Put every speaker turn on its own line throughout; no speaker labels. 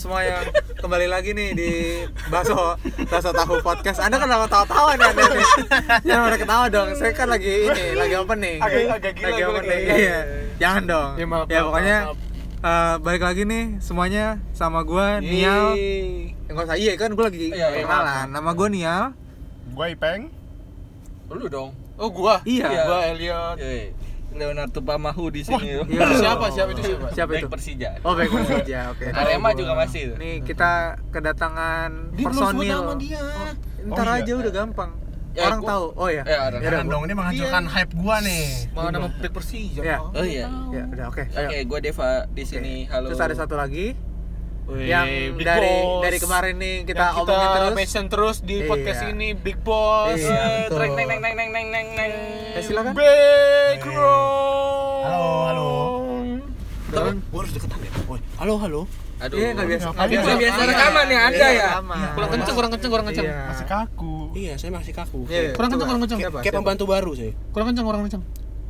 semua yang kembali lagi nih di Baso Baso Tahu Podcast. Anda kenapa tawa-tawa nih Anda nih? Jangan pada ketawa dong. Saya kan lagi ini, lagi opening.
Agak- agak gila
lagi
gue lagi,
opening.
agak-
Iya. Jangan dong. Ya,
Ya, maaf, maaf,
pokoknya
maaf,
eh, balik lagi nih semuanya sama gua Nial. Enggak usah iya kan gua lagi
Iya, iya,
kenalan. Nama gua Nial.
Gue Ipeng
Lu dong. Oh gua.
Iya.
Gua Elliot.
Leonardo Pamahu di sini.
Iya.
Siapa siapa itu siapa?
Siapa
Back
itu?
Persija.
Oh, baik saja. Oke.
Arema juga masih itu.
Nih kita kedatangan personil. Ntar
Oh, iya.
aja udah gampang.
Ya,
orang
gua-
tahu. Oh ya.
Ya, ada.
Yaudah,
Jangan dong, ini menghancurkan hype gua nih
Mau nama back Persija.
Iya.
Bang.
Oh iya.
Ya, udah oke. ayo.
Oke, gua Deva di
Oke.
sini. Halo.
Terus ada satu lagi
Wih,
yang
Big
dari
Boss.
dari kemarin nih
Yang
kita, omongin terus.
mention terus di podcast
Iya.
ini Big Boss.
Iya.
Eh,
betul.
trek, neng neng neng neng neng neng neng.
Ya, silakan.
Back
Wih.
Row.
Iya. Halo, halo.
Turun.
Gue harus deketan ya Woi, Halo, halo
Aduh.
Iya, nggak biasa. nggak
Iya,
biasa.
biasa
Iya,
rekaman ya, Anda
iya,
ya?
rekaman.
Kurang kenceng, kurang kenceng, kurang kenceng.
Iya.
Masih kaku
Iya, saya masih kaku.
Iya,
Kayak-
Kurang kenceng,
coba.
kurang kenceng.
Siapa,
Kayak
siapa?
pembantu baru saya.
Kurang kenceng, kurang kenceng.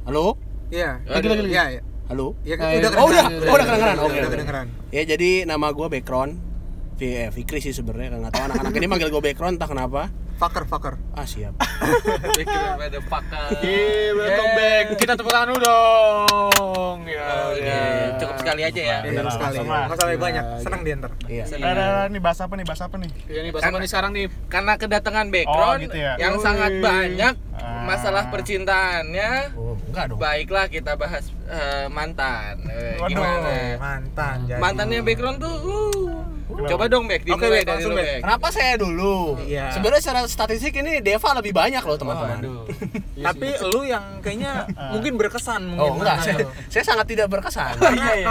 Halo?
Iya.
Lagi, lagi, lagi.
Iya, iya.
Halo?
Iya,
Nah,
udah
iya.
kedengeran.
Oh, udah. Oh, udah
kedengeran. Oke,
Udah
oke.
kedengeran.
Ya jadi nama gua background V- eh, Fikri sih sebenarnya kan nggak tahu anak-anak ini manggil gua background entah kenapa.
Fucker, fucker.
Ya,
Ah siap.
Back Row pada pakar.
Yeay, Iya, welcome back. Kita tepuk tangan dulu dong. Ya,
Oh,
Oke, Oh, cukup sekali aja ya.
Iya,
Udah lah,
sekali.
sama.
Enggak sampai banyak. Senang dia ntar.
Iya.
Nah, nah, nah, nih bahas apa nih, bahas apa nih?
Ya nih,
Kan-
bahasa apa nih sekarang nih?
Karena kedatangan background
Oh, gitu ya.
yang
Yoi.
sangat banyak
Ah.
masalah percintaannya.
Oh, enggak dong.
Baiklah kita bahas eh, mantan. Eh,
Waduh.
gimana?
Mantan jadi.
Mantannya background tuh. uh.
Gimana?
Coba dong back
Oke,
dimulai
Bek,
dari
langsung,
lu
Bek.
back.
Kenapa saya dulu?
Iya.
Sebenarnya secara statistik ini Deva lebih banyak loh teman-teman.
Aduh.
Tapi
Iya,
lu yang kayaknya mungkin berkesan
Oh,
mungkin.
enggak. Saya, saya sangat tidak berkesan.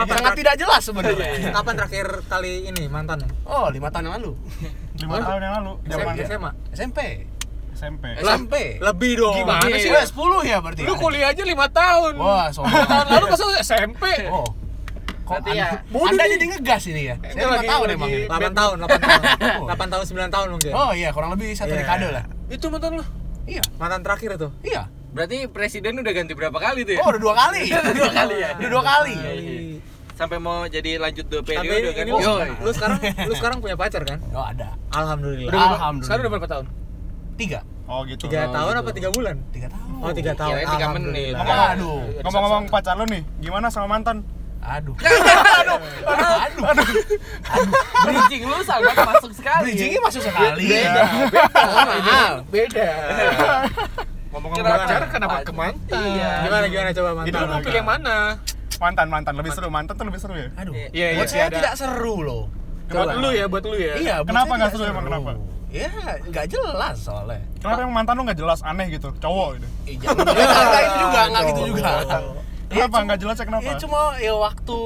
sangat tidak jelas
Iya,
sebenarnya.
Kapan terakhir kali ini mantan?
Oh, lima tahun yang lalu.
Lima tahun yang lalu, zaman
SMA. SMA.
SMP.
SMP
SMP.
Lebih dong.
Gimana
Mana
sih?
sih? Udah 10 ya berarti.
Lu kuliah aja 5 tahun.
Wah, sombong.
Tahun lalu masa SMP.
Oh. Kok
Berarti ya,
Anda, Anda jadi ngegas ini ya?
lagi-
Saya nggak tahu
lagi-
emang ini.
8 tahun, 8 tahun.
Oh.
8 tahun, 9 tahun mungkin.
Oh iya, kurang lebih satu
Iya.
dekade lah.
Itu mantan lu.
Iya,
Mantan terakhir itu.
iya.
Berarti presiden udah ganti berapa kali tuh ya?
Oh, udah dua kali. udah dua kali ya. Udah dua kali.
Sampai mau jadi lanjut dua
Tapi
periode
ini,
kan?
ini
Oh,
lu, lu sekarang lu sekarang punya pacar kan?
Oh, ada.
Alhamdulillah.
Udah. Alhamdulillah.
Sekarang udah berapa tahun?
Tiga.
Oh gitu
3 tahun apa 3 bulan?
Tiga tahun.
Oh, 3 tahun.
Kirain tiga
Alhamdulillah.
menit.
Aduh.
Ngomong-ngomong pacar lu nih, gimana sama mantan?
Aduh. aduh. Aduh. Aduh.
bridging lu sangat masuk sekali.
Bridgingnya masuk sekali.
Beda,
Oh, mahal.
Beda.
Ngomong-ngomong
Kenapa
pacar
pacar kenapa ke mantan?
Iya.
Gimana gimana coba
Itu
mantan?
lu mau pilih yang mana?
Mantan-mantan, lebih seru, mantan tuh lebih seru ya?
Aduh.
Iya, iya,
Buat saya
ada.
tidak seru loh.
Buat lu ya, buat lu ya.
Iya, buat
Kenapa
saya
nggak
tidak
seru emang, kenapa?
Ya, nggak jelas soalnya.
Kenapa yang mantan lu nggak jelas, aneh gitu, cowok gitu
Eh, jangan nggak itu juga, nggak gitu juga. Ya,
Kenapa? Nggak jelas ya kenapa?
Ya cuma ya waktu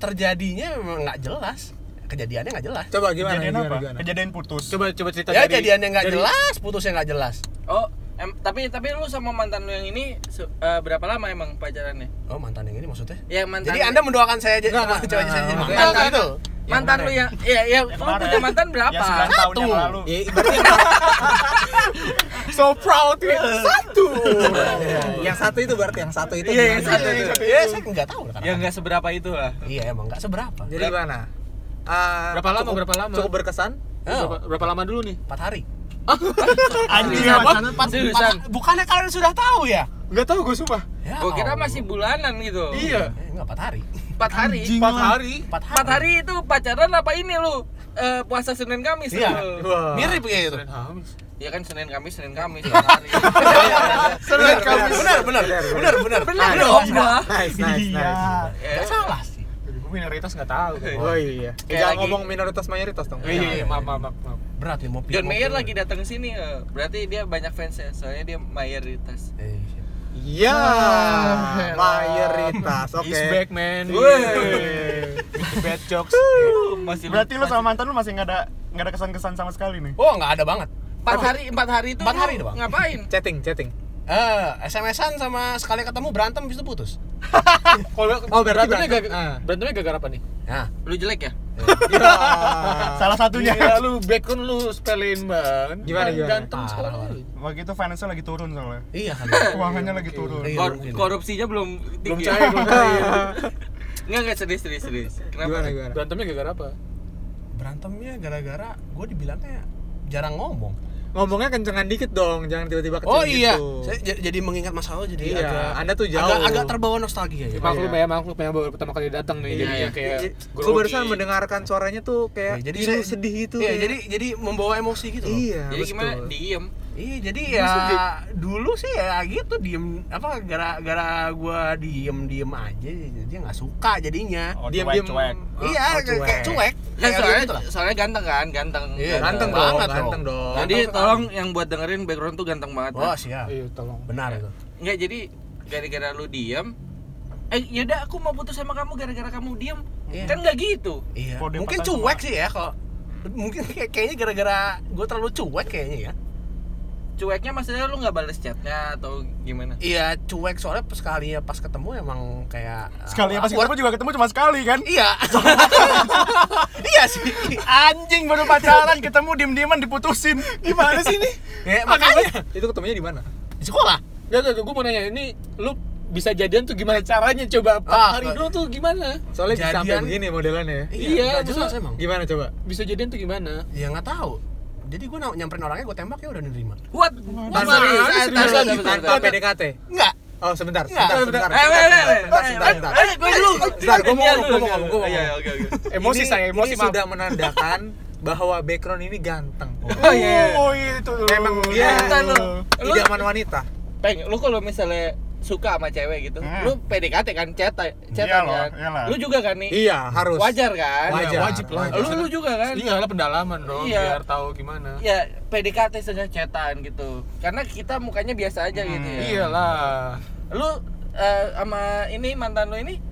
terjadinya memang nggak jelas kejadiannya nggak jelas.
Coba gimana?
Kejadian
gimana,
apa?
gimana?
Kejadian putus
Coba coba cerita
ya
dari-
kejadiannya nggak
dari-
jelas, putusnya nggak jelas.
Oh, em, tapi tapi lu sama mantan lu yang ini se- eh, berapa lama emang pacarannya?
Oh mantan yang ini maksudnya?
Ya mantan.
Jadi anda mendoakan saya jadi
Nggak,
sama
nggak,
ceweknya saya jadi
nggak,
mantan
nggak.
gitu?
mantan lu yang ya ya lu
kemarin.
punya mantan berapa? Iya,
Ya 9 tahun yang
Satu. Iya.
lalu
Ya, berarti
So proud ya.
Satu.
yang satu itu berarti yang satu itu.
Iya,
gimana?
yang satu itu.
Ya saya nggak tahu lah.
ya
kenapa.
nggak seberapa itu lah.
Iya emang nggak seberapa.
Jadi gimana? Ah,
Berapa lama,
cukup-
berapa lama?
Cukup berkesan?
iya,
Oh,
Berapa, berapa lama dulu nih?
Empat hari.
Anjir,
Empat-
mantan
empat-
seriusan?
empat- Bukannya kalian sudah tahu ya?
Enggak tahu gue sumpah.
Ya,
Gua kira
Allah.
masih bulanan gitu.
Iya.
Eh, nggak empat hari.
Empat hari.
Anjing.
Empat hari.
Empat hari.
Empat hari itu pacaran apa ini lu? Eh, puasa Senin Kamis
Iya.
lu.
Wah.
Mirip kayak gitu.
Ya kan Senin Kamis, Senin Kamis, empat hari.
Benar, benar, benar, benar, benar,
Benar
Aduh,
dong gua.
Nice, nice,
Iya.
nice.
Ya,
Nggak salah sih.
Gue minoritas nggak tahu.
Oh iya.
Kayak
Jangan
lagi-
ngomong minoritas mayoritas dong.
Iya, iya, maaf, maaf, maaf, maaf.
Berat nih mau pilih.
John
mau
Mayer
pilih.
lagi datang ke sini, eh. berarti dia banyak fansnya, soalnya dia mayoritas.
Eh, siap.
Iya, mayoritas. Oke.
He's back man. Iya.
Wey.
Bad jokes.
Uh, masih
Berarti lu sama mantan lu masih nggak ada nggak ada kesan-kesan sama sekali nih?
Oh nggak ada banget.
empat hari empat hari itu
Empat
lu
hari doang.
ngapain?
Chatting, chatting.
Eh, SMS-an sama sekali ketemu berantem habis itu putus.
Kalau
Oh, berarti
berantemnya
berantem.
gagal-
Ah.
berantemnya gara-gara apa nih?
Nah,
Lu jelek ya?
Salah satunya
Gila, lu background lu spelein banget.
Gimana, gimana?
Ganteng
Ah, Parah,
sekali.
parah.
Waktu itu finance lagi turun soalnya
iya kan.
Keuangannya lagi turun
Iya,
Kor-
mungkin.
korupsinya belum
Belum
tinggi.
cair, belum cair.
Enggak enggak serius serius serius. Kenapa?
gimana gimana?
Berantemnya gara-gara apa?
berantemnya gara-gara gue dibilangnya jarang ngomong.
Ngomongnya kencengan dikit dong, jangan tiba-tiba kenceng
Oh iya,
gitu.
saya j- jadi mengingat masa lalu
Iya,
jadi agak
Anda tuh jauh.
agak, agak terbawa nostalgia ya.
Maklum ya, maklum yang baru pertama kali datang nih.
Iya,
Jadinya
iya.
kayak
Gue barusan mendengarkan suaranya tuh kayak
Ya, jadi
pilu,
saya-
sedih gitu.
Iya,
ya.
jadi jadi membawa emosi gitu loh.
iya.
Jadi gimana?
betul.
Diem. Nah,
Iya, jadi ya dulu sih ya gitu diem apa gara-gara gua diem-diem aja jadi nggak suka jadinya.
Oh,
Diam-diam.
cuek-cuek.
Oh,
iya,
oh,
kayak- kayak cuek.
Kan
Kayak
soalnya,
gitu lah.
soalnya ganteng kan, ganteng.
Iya,
Ganteng
Banget
dong,
dong.
ganteng dong.
Jadi tolong yang buat dengerin background tuh ganteng banget.
Wah, siap.
Iya, tolong.
Benar itu.
Enggak, jadi gara-gara lu diem Eh, yaudah aku mau putus sama kamu gara-gara kamu diem
Iya.
Kan nggak gitu
Iya.
Kode
mungkin
patah
cuek
semua.
sih ya kalau mungkin kayak- kayaknya gara-gara gue terlalu cuek kayaknya ya.
Cueknya maksudnya lu nggak bales chatnya atau gimana?
Iya cuek soalnya pas sekali ya pas ketemu emang kayak eh,
Sekalinya pas
awkward.
ketemu juga ketemu cuma sekali kan.
Iya. iya sih.
Anjing baru pacaran ketemu diem-dieman diputusin. Gimana sih ini?
Ya, makanya
Itu ketemunya di mana?
di sekolah.
Gak, gak, gue mau nanya ini lu bisa jadian tuh gimana caranya coba empat
Ah,
hari
nggak.
dulu tuh gimana
Soalnya bisa sampai
Jadian.
begini modelannya. ya.
Iya,
nggak jelas
maksudnya-
emang.
Gimana coba?
bisa jadian tuh gimana
Ya nggak tahu. Jadi gue nyamperin orangnya gue tembak ya udah nerima.
What?
Tanpa,
Gimana?
tanpa-
Serius,
tanpa-
serius, serius,
tanpa
serius.
PDKT.
Enggak.
Oh sebentar,
Iya.
sebentar, sebentar,
Eh, eh, eh, eh,
sebentar, sebentar,
eh,
sebentar.
eh, gue dulu.
Sebentar, gua mau
Iya,
ngomong,
dulu,
gua mau ngomong, gua mau
Iya,
ngomong.
oke, oke.
emosi
Ini-
saya emosi
ini
maaf
sudah menandakan bahwa background ini ganteng. Pok.
Oh, iya.
Oh, itu.
Emang dia
Ntar Eh, lu. Lu
idaman wanita.
peng, lu kalau misalnya suka sama cewek gitu,
Hmm.
lu PDKT kan, cetak,
Iya
cetak
loh,
kan.
iyalah.
Lu juga kan nih.
Iya, harus.
Wajar kan?
Wajar.
Wajib lah.
Wajar.
Lu lu juga kan?
ini nggak ada pendalaman dong
Iya.
biar tahu gimana
Ya, PDKT saja cetan gitu. Karena kita mukanya biasa aja gitu ya.
iya.
iyalah
Lu eh, sama ini mantan lu ini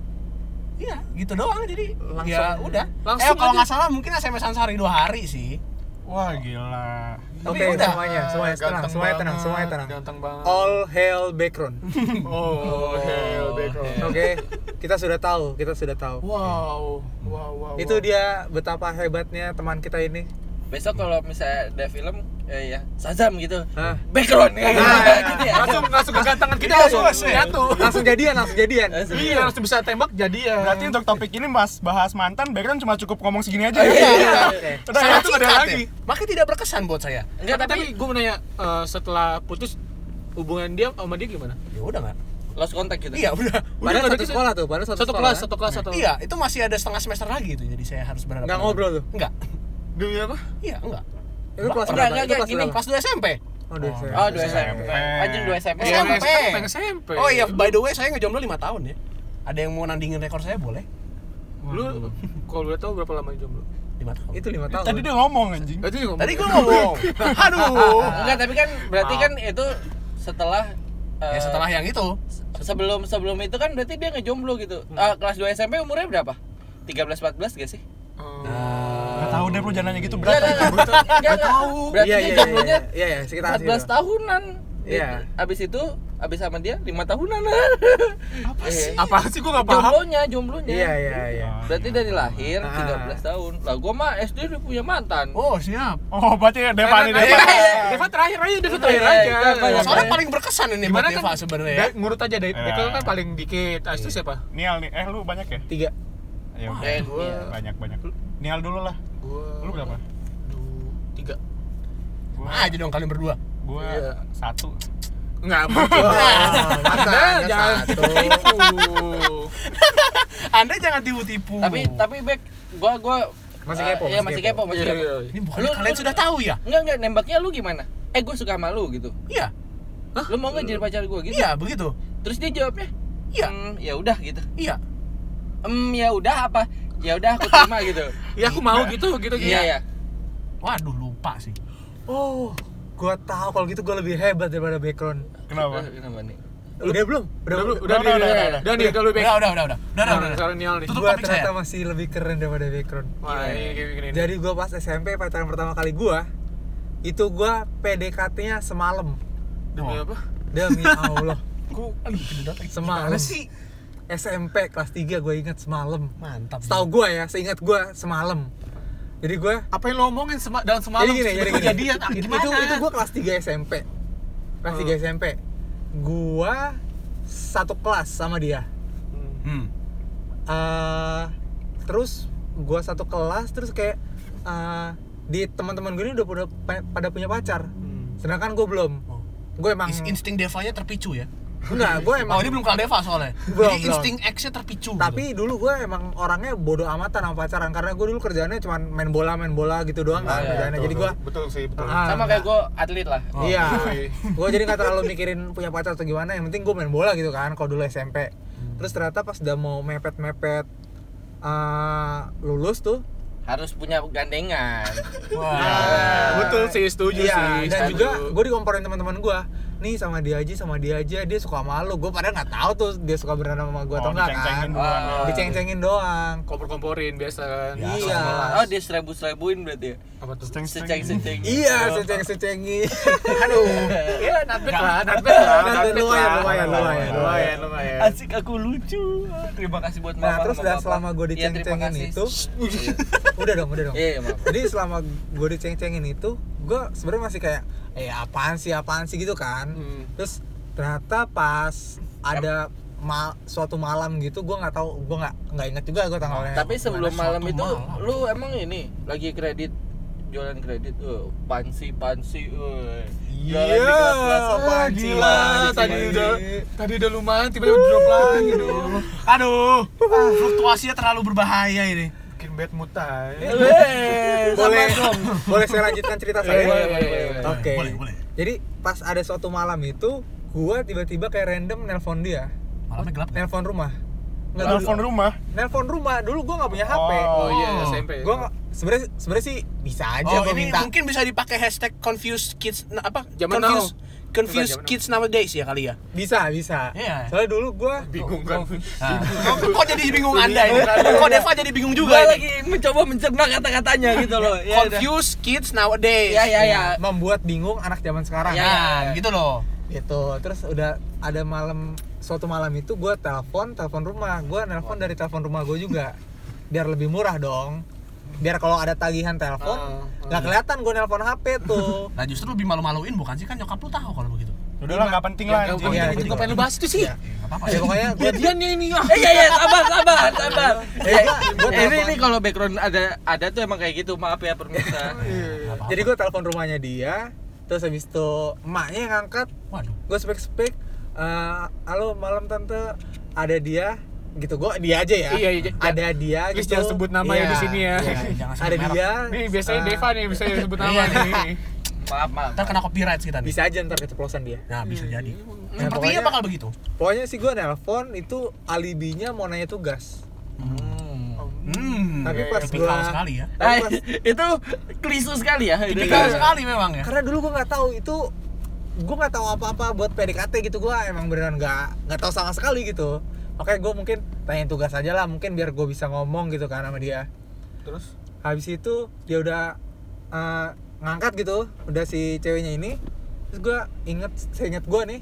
Iya, gitu doang jadi
Langsung.
ya udah.
Langsung
eh, kalau
aja.
nggak salah mungkin SMS-an sehari dua hari sih.
Wah, gila.
Tapi
Oke,
udah.
semuanya, semuanya tenang,
Ganteng
semuanya tenang,
banget,
semuanya tenang.
ganteng banget
All hail background.
oh hell background
Oke, kita sudah tahu, kita sudah tahu.
wow wow wow
Itu dia betapa hebatnya teman kita ini.
besok kalau misalnya ada film eh, ya Sazam gitu.
Hah?
Background ya.
Iya.
gitu ya.
Nah, langsung langsung kegantengan kita
Iya,
langsung
langsung.
jatuh
Langsung jadian, langsung jadian.
iya langsung bisa tembak ya. jadian
Berarti untuk topik ini mas bahas mantan, background cuma cukup ngomong segini aja.
Iya,
ya?
oke.
Udah,
Sangat
itu ada
singkat
lagi.
ya. Makanya tidak berkesan buat saya.
Enggak
tapi,
tapi,
tapi gue mau nanya eh, setelah putus hubungan dia sama dia gimana
Ya udah nggak.
lost contact gitu.
Iya udah.
Padahal
Udah,
satu
udah,
sekolah tuh, padahal satu,
satu
sekolah. kan?
kelas satu kelas satu
Iya, itu masih ada setengah semester lagi tuh jadi saya harus berhadapan.
Nggak ngobrol tuh?
Enggak.
demi apa
Iya, enggak.
Itu kelas
Enggak,
berapa?
enggak,
Itu kelas
gini,
berapa?
Kelas 2 SMP.
Oh, dua SMP.
Oh, dua SMP. Anjing dua SMP.
Iya,
Sama.
SMP.
SMP
Oh iya, by the way saya ngejomblo 5 tahun ya. Ada yang mau nandingin rekor saya boleh?
lu kalau boleh tahu berapa lama jomblo
5 tahun.
Itu lima tahun.
Tadi dia ngomong anjing.
Berarti ngomong- ya?
Tadi gua ngomong. Aduh.
Enggak, tapi kan berarti kan itu setelah eh,
ya setelah yang itu.
sebelum sebelum itu kan berarti dia ngejomblo gitu. Eh, kelas 2 SMP umurnya berapa? 13 14 gak sih?
Gak tau deh lu jangan nanya gitu
Enggak,
berat.
enggak, enggak. Enggak tahu. Berarti
Iya,
dia
iya, iya,
jomblonya
iya, iya, iya, sekitar
14
situ.
tahunan.
Iya.
Abis itu abis sama dia 5 tahunan. Iya. Apa sih?
apa sih gua nggak paham
Jomblonya, jomblonya.
Iya, iya, iya.
Berarti dari lahir
Ah.
13 tahun. Lah gua mah SD udah punya mantan.
Oh, siap.
Oh, berarti Deva nih Deva.
iya. Deva terakhir aja, Deva terakhir aja. kan
Iya,
Soalnya
iya.
paling berkesan ini buat
Gimana
Deva
kan?
sebenarnya. ya.
Dek, ngurut aja deh.
Iya.
Dekel kan paling dikit. Ah, itu siapa?
Nial nih, eh lu banyak ya?
Tiga.
Ayo,
Eh, iya.
banyak banyak. Nial dulu lah.
Gua
Lu berapa?
du- tiga.
Gua,
Ah, aja dong kalian berdua.
gua
Iya.
satu.
Enggak mungkin.
Matanya
jangan
satu.
tipu.
Anda jangan tipu-tipu.
Tapi tapi back gua gua
Masih
eh,
kepo,
Iya,
masih
masih
kepo.
kepo, masih
Iya,
kepo.
iya, iya.
ini bukan
Lu-
kalian
lu-
sudah tahu ya?
Enggak enggak nembaknya lu gimana? Eh gua suka sama lu gitu.
Iya.
Lu mau nggak jadi pacar gua gitu?
Iya, begitu.
Terus dia jawabnya,
Iya.
"Hmm, ya udah gitu."
Iya.
"Hmm, ya udah apa? Ya udah aku terima gitu."
Ya aku mau gitu gitu gitu.
Iya ya.
Waduh, lupa sih.
Oh, gua tahu kalau gitu gua lebih hebat daripada background.
Kenapa?
Kenapa nih?
Udah belum?
Udah udah
udah,
udah nih,
udah,
udah
udah.
udah nih, udah lebih.
Udah, udah, udah, udah. Udah, udah, udah.
Sekarang Nial nih.
Tutup
Gua
topik saya.
ternyata masih lebih keren daripada background.
Wah, ini gini gini.
Jadi gua pas SMP pacaran pertama kali gua itu gua PDKT-nya semalam.
Demi apa?
Demi Allah,
Gua aduh, kededat lagi.
semalam.
Gimana sih?
SMP kelas 3 gua ingat semalam.
Mantap.
Setahu gua ya, seingat gua semalam. Jadi gua
Apa yang lo omongin sema- dalam semalam?
jadi gini, jadi gini.
Kejadian ah,
Itu-
gimana?
Itu itu gua kelas 3 SMP. Kelas
Oh.
3 SMP. Gua satu kelas sama dia.
Hmm.
eh terus gua satu kelas terus kayak eh, di teman-teman gue ini udah pada, pada punya pacar sedangkan gue belum
Oh.
gue emang
Is- insting devanya terpicu ya
enggak gue emang
oh dia belum kenal deva soalnya
Belum,
jadi
belum.
insting X-nya terpicu gitu.
tapi dulu gue emang orangnya bodoh amatan sama pacaran karena gue dulu kerjaannya cuman main bola main bola gitu doang kan
Iya,
kerjaannya jadi gue
Ah, betul sih betul
ah,
sama kayak gue atlet lah
Oh.
iya
Yoi.
gue jadi nggak terlalu mikirin punya pacar atau gimana yang penting gue main bola gitu kan kalau dulu SMP terus ternyata pas udah mau mepet mepet lulus tuh
harus punya gandengan
gitu. Wah.
Hmm. betul sih setuju
iya
sih
dan
setuju.
juga gue dikomporin teman-teman gue nih sama dia aja sama dia aja dia suka malu gue padahal nggak tahu tuh dia suka berantem sama gue atau enggak kan
Oh, diceng-cengin doang.
Wah.
diceng-cengin doang
kompor-komporin biasa kan.
Iya.
oh dia seribu seribuin berarti ya
apa tuh
seceng seceng
iya seceng-secengin
aduh
Iya,
ya natbet lah natbet lah
Natbet lumayan,
natbet lah.
lumayan, lumayan,
lumayan lumayan
asik aku lucu terima kasih buat mama
Nah, terus
sama
udah
papa.
selama gue
Iya, terima
diceng-cengin
kasih.
itu, Eh, udah dong, udah dong.
iya iya maaf
Jadi selama gue diceng-cengin itu, gue sebenarnya masih kayak, eh apaan sih, apaan sih gitu kan.
Hmm.
Terus ternyata pas ada ma- suatu malam gitu, gue nggak tahu, gue nggak nggak inget juga gue tanggalnya.
tapi sebelum
Gimana
malam
suatu
itu
malam?
lu emang ini lagi kredit jualan kredit eh, tuh pansi pansi woi. eh. Jualan di
Iya,
kelas-kelas.
apaan sih,
gila
apaan sih,
tadi
apaan
udah
sih.
tadi udah lumayan tiba-tiba drop lagi dong
aduh
ah.
fluktuasinya terlalu berbahaya ini
bikin bad mood aja
Weh,
boleh
sabar dong.
Eh, boleh saya lanjutkan cerita saya
Boleh, boleh, boleh, boleh.
oke
Boleh, boleh.
jadi pas ada suatu malam itu gue tiba-tiba kayak random nelpon dia
malamnya gelap nggak?
nelpon rumah Nggak, dulu-
telepon rumah
nelpon rumah dulu gue nggak punya hp
Oh,
oh iya
Oh.
SMP
gue nggak sebenarnya sebenarnya sih bisa aja
Oh,
gue
ini
minta
mungkin bisa dipakai hashtag confused kids na- apa?
Zaman
confused,
Bukan
confused
zaman
kids nowadays ya kali ya.
bisa bisa
Iya.
soalnya dulu gue
bingung kan
Iya.
Nah. Kok jadi bingung Anda ini? Kok Deva jadi bingung
juga
juga ini?
Iya. lagi mencoba mencerna kata-katanya gitu loh ya udah.
Confused kids nowadays.
ya ya ya
membuat bingung anak zaman sekarang
Ya,
Nah, gitu loh.
gitu terus udah ada malam suatu malam itu gue telepon telepon rumah gue nelpon dari telepon rumah gue juga biar lebih murah dong biar kalau ada tagihan telepon nggak kelihatan gue nelpon hp tuh
Nah, justru lebih malu-maluin bukan sih kan nyokap lu tahu kalau begitu.
udah lah nggak penting lah
yang
anjing.
Iya,
penting
gitu.
gue pengen lu bahas itu sih
Iya.
Enggak apa-apa.
ya pokoknya gue
jadiannya ini ya
Eh, iya iya sabar sabar sabar
Eh, gua- gua
Eh, ini
telepon.
ini kalau background ada ada tuh emang kayak gitu maaf ya
Oh,
pemirsa
jadi gue telepon rumahnya dia terus habis itu emaknya yang angkat
Waduh.
gue spek spek eh, halo malam tante ada dia gitu gue dia aja ya
Iya, iya, j-
ada dia
please
gitu
jangan sebut namanya
Iya,
di sini ya.
iya.
Jangan sebut
ada
merek.
dia
nih biasanya
eh,
Deva nih bisa sebut nama nih
maaf maaf
Ntar kena copyright kita nih.
bisa aja ntar keceplosan dia
Nah, bisa jadi.
Nah,
Sepertinya
pokoknya-
bakal begitu.
pokoknya sih gue nelpon itu alibinya mau nanya tugas
Hmm.
Tapi pas
tipikal
gua-
sekali ya.
Eh,
Tapi pas-
itu klise sekali ya itu
Tipikal
ya.
sekali memang ya.
karena dulu gue nggak tahu itu gue nggak tahu apa-apa buat PDKT gitu gue emang beneran nggak nggak tahu sama sekali gitu oke gue mungkin tanyain tugas aja lah mungkin biar gue bisa ngomong gitu kan sama dia
terus
habis itu dia udah eh, ngangkat gitu udah si ceweknya ini terus gue inget saya inget gue nih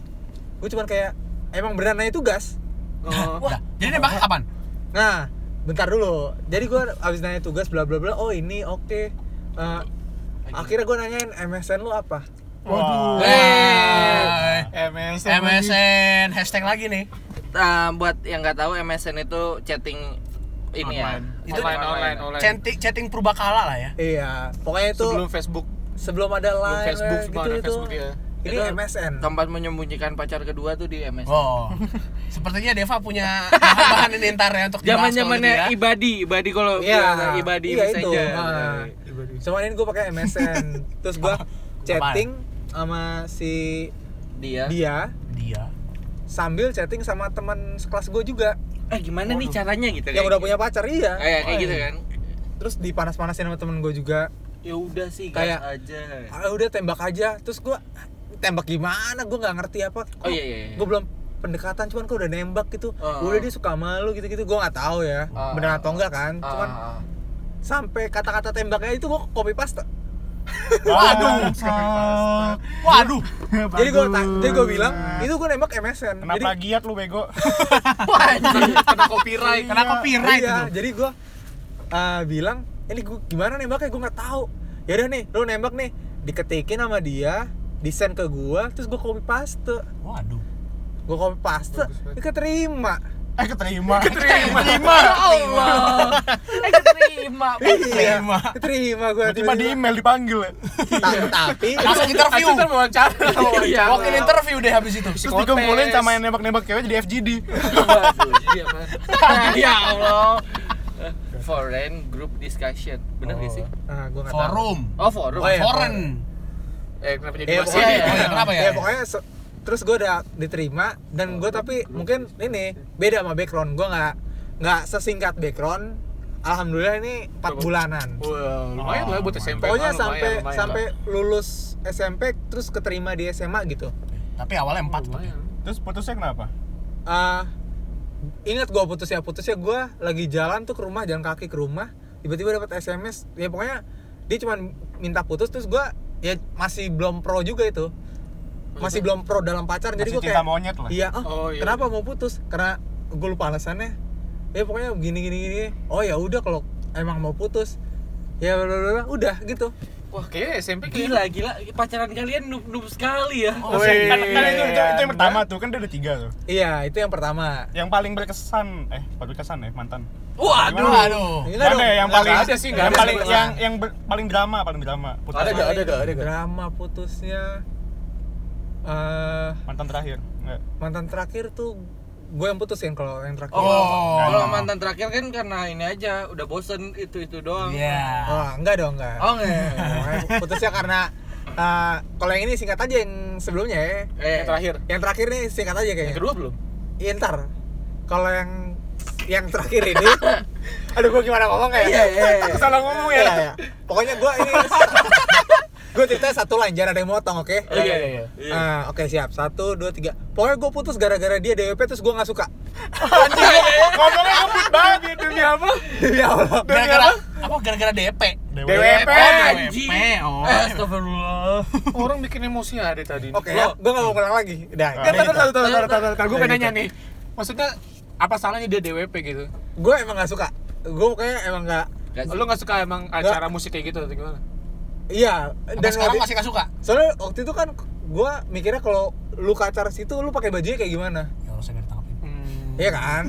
gue cuman kayak emang beneran nanya tugas
Oh.
Wah, jadi nembaknya kapan?
Nah, bentar dulu. Jadi gua abis nanya tugas bla bla bla. Oh ini oke. Eh, akhirnya gua nanyain MSN lu apa?
waduh
Hey.
MSN
MSN hashtag lagi nih.
Eh, buat yang nggak tahu MSN itu chatting ini ya
Online.
Itu
online online online
Chatting chatting purbakala lah ya.
Iya, pokoknya itu
sebelum
sebelum,
Facebook
ada
sebelum
line gitu
Facebook sebelum ada
itu.
Facebook ya
Ini
Itu
MSN.
tempat menyembunyikan pacar kedua tuh di MSN
Oh, sepertinya Deva punya bahan ini ntar ya untuk
zaman
dibahas kalau
zamannya
gitu ya.
ibadi ibadi kalau
Iya,
ibadi
iya itu.
messenger
Ah. Cuman ini gua pakai MSN. Terus gua chatting sama si dia
dia
ya. Dia.
sambil chatting sama teman sekelas gua juga
eh gimana nih caranya gitu
yang
kayak
udah
gitu.
punya pacar iya.
kayak kayak gitu kan
Terus dipanas-panasin sama temen gua juga.
ya udah sih gas
Kayak-
aja
ah, udah tembak aja terus gua tembak gimana gua nggak ngerti apa
oh iya iya, iya.
gue belum pendekatan cuman kok udah nembak gitu
Oh.
udah dia suka malu gitu gitu gua nggak tahu ya
Oh.
bener atau enggak kan
Ah,
cuman
ah.
sampai kata-kata tembaknya itu gua copy paste
Waduh. Waduh.
jadi gua ta- jadi gua bilang itu gua nembak MSN jadi
kenapa giat lu bego
kena copyright
Kena copyright
iya,
itu.
jadi gua eh, bilang ini gua gimana nembaknya gua nggak tahu ya udah nih lu nembak nih diketikin sama dia desain ke gua terus gua copy paste
Waduh.
gua copy paste
Bagus banget.
dia keterima
eh keterima
Keterima.
Ya Allah. Eh, keterima.
keterima
Terima gue
tiba di email dipanggil ya
Ta- tapi
Langsung interview.
Langsung kan wawancara.
Iya. Wakil interview deh habis itu.
terus dikumpulin sama yang nembak-nembak cewek jadi FGD
Waduh, jadi apa? Ya Allah. Foreign group discussion. Bener gak sih?
nah, gua nggak tahu.
Forum.
Oh, forum.
Oh, iya.
Foreign.
Eh kenapa jadi
Eh,
bahas
pokoknya,
ini?
Oh, iya, kenapa ya?
Eh, pokoknya se- terus gue udah diterima dan gue tapi mungkin ini beda sama background gue nggak nggak sesingkat background alhamdulillah ini 4 bulanan
Wah, lumayan lah buat SMP.
pokoknya
Lumayan,
sampai
lumayan
sampai
lah.
lulus SMP terus keterima di SMA gitu
Tapi awalnya empat.
Lumayan.
terus putusnya kenapa
Ah, ingat gue putusnya putusnya gue lagi jalan tuh ke rumah jalan kaki ke rumah tiba-tiba dapat SMS ya pokoknya dia cuma minta putus terus gue ya masih belum pro juga itu masih belum pro dalam pacaran jadi
Oh,
gue
masih cinta
kayak
monyet lah
Iya, ah,
Oh, iya,
kenapa mau putus? Karena gue lupa alasannya. Ya pokoknya gini gini gini. Oh ya udah kalau emang mau putus, ya bla, bla, bla, udah gitu.
Wah, kayaknya SMP
Eh, Gila, gila. Pacaran kalian noob-noob sekali ya.
Wih,
kan- kan
itu, itu, itu yang pertama tuh kan dia ada tiga tuh
Iya, itu yang pertama.
yang paling berkesan eh berkesan ya mantan
Waduh.
Gimana?
Aduh.
Enggak
Gak ada ya, yang
Nggak
paling
ada sih, nggak
yang
ada.
paling yang yang ber- paling drama paling drama putus
Ada nggak? ada ada
Drama putusnya eh
mantan terakhir Nggak.
mantan terakhir tuh gue yang putusin kalau yang terakhir.
Oh.
Kalau mantan terakhir kan karena ini aja udah bosen itu-itu doang.
Iya.
Oh, enggak dong, enggak.
Oh, enggak.
Pokoknya putusnya karena eh, kalau yang ini singkat aja yang sebelumnya ya.
Eh,
Yang terakhir.
Yang terakhir nih singkat aja kayaknya.
Yang kedua belum?
Iya ntar kalau yang yang terakhir ini, aduh gue gimana ngomong ya?
Iya, iya, iya.
salah ngomong
Iya,
ya
iya. Pokoknya gue ini, gue cerita satu line jangan ada yang motong, oke?
Iya, iya, iya.
Ah, oke siap satu dua tiga. Pokoknya gue putus gara-gara dia DWP terus gue nggak suka.
ngomongnya abut banget ya demi apa
Demi Allah.
Gara-gara apa gara-gara DP?
DWP
eh, Anjing.
Oh.
Eh, Astagfirullah.
Orang bikin emosi hari tadi.
Oke, ya, gue nggak mau ulang lagi. Dah.
Ah.
Kan tadi tadi tadi tadi gue
Kayak
pengen nanya
gitu.
nih. Maksudnya apa salahnya dia DWP gitu?
Gue emang nggak suka. Gue kayaknya emang nggak.
Lu gak suka emang acara musik kayak gitu atau gimana?
Iya.
Sampai sekarang
waktu-
masih gak suka.
soalnya waktu itu kan gue mikirnya kalau lu ke acara situ lu pakai bajunya kayak gimana?
Ya harus saya ditangkapin.
Ya,
Iya kan?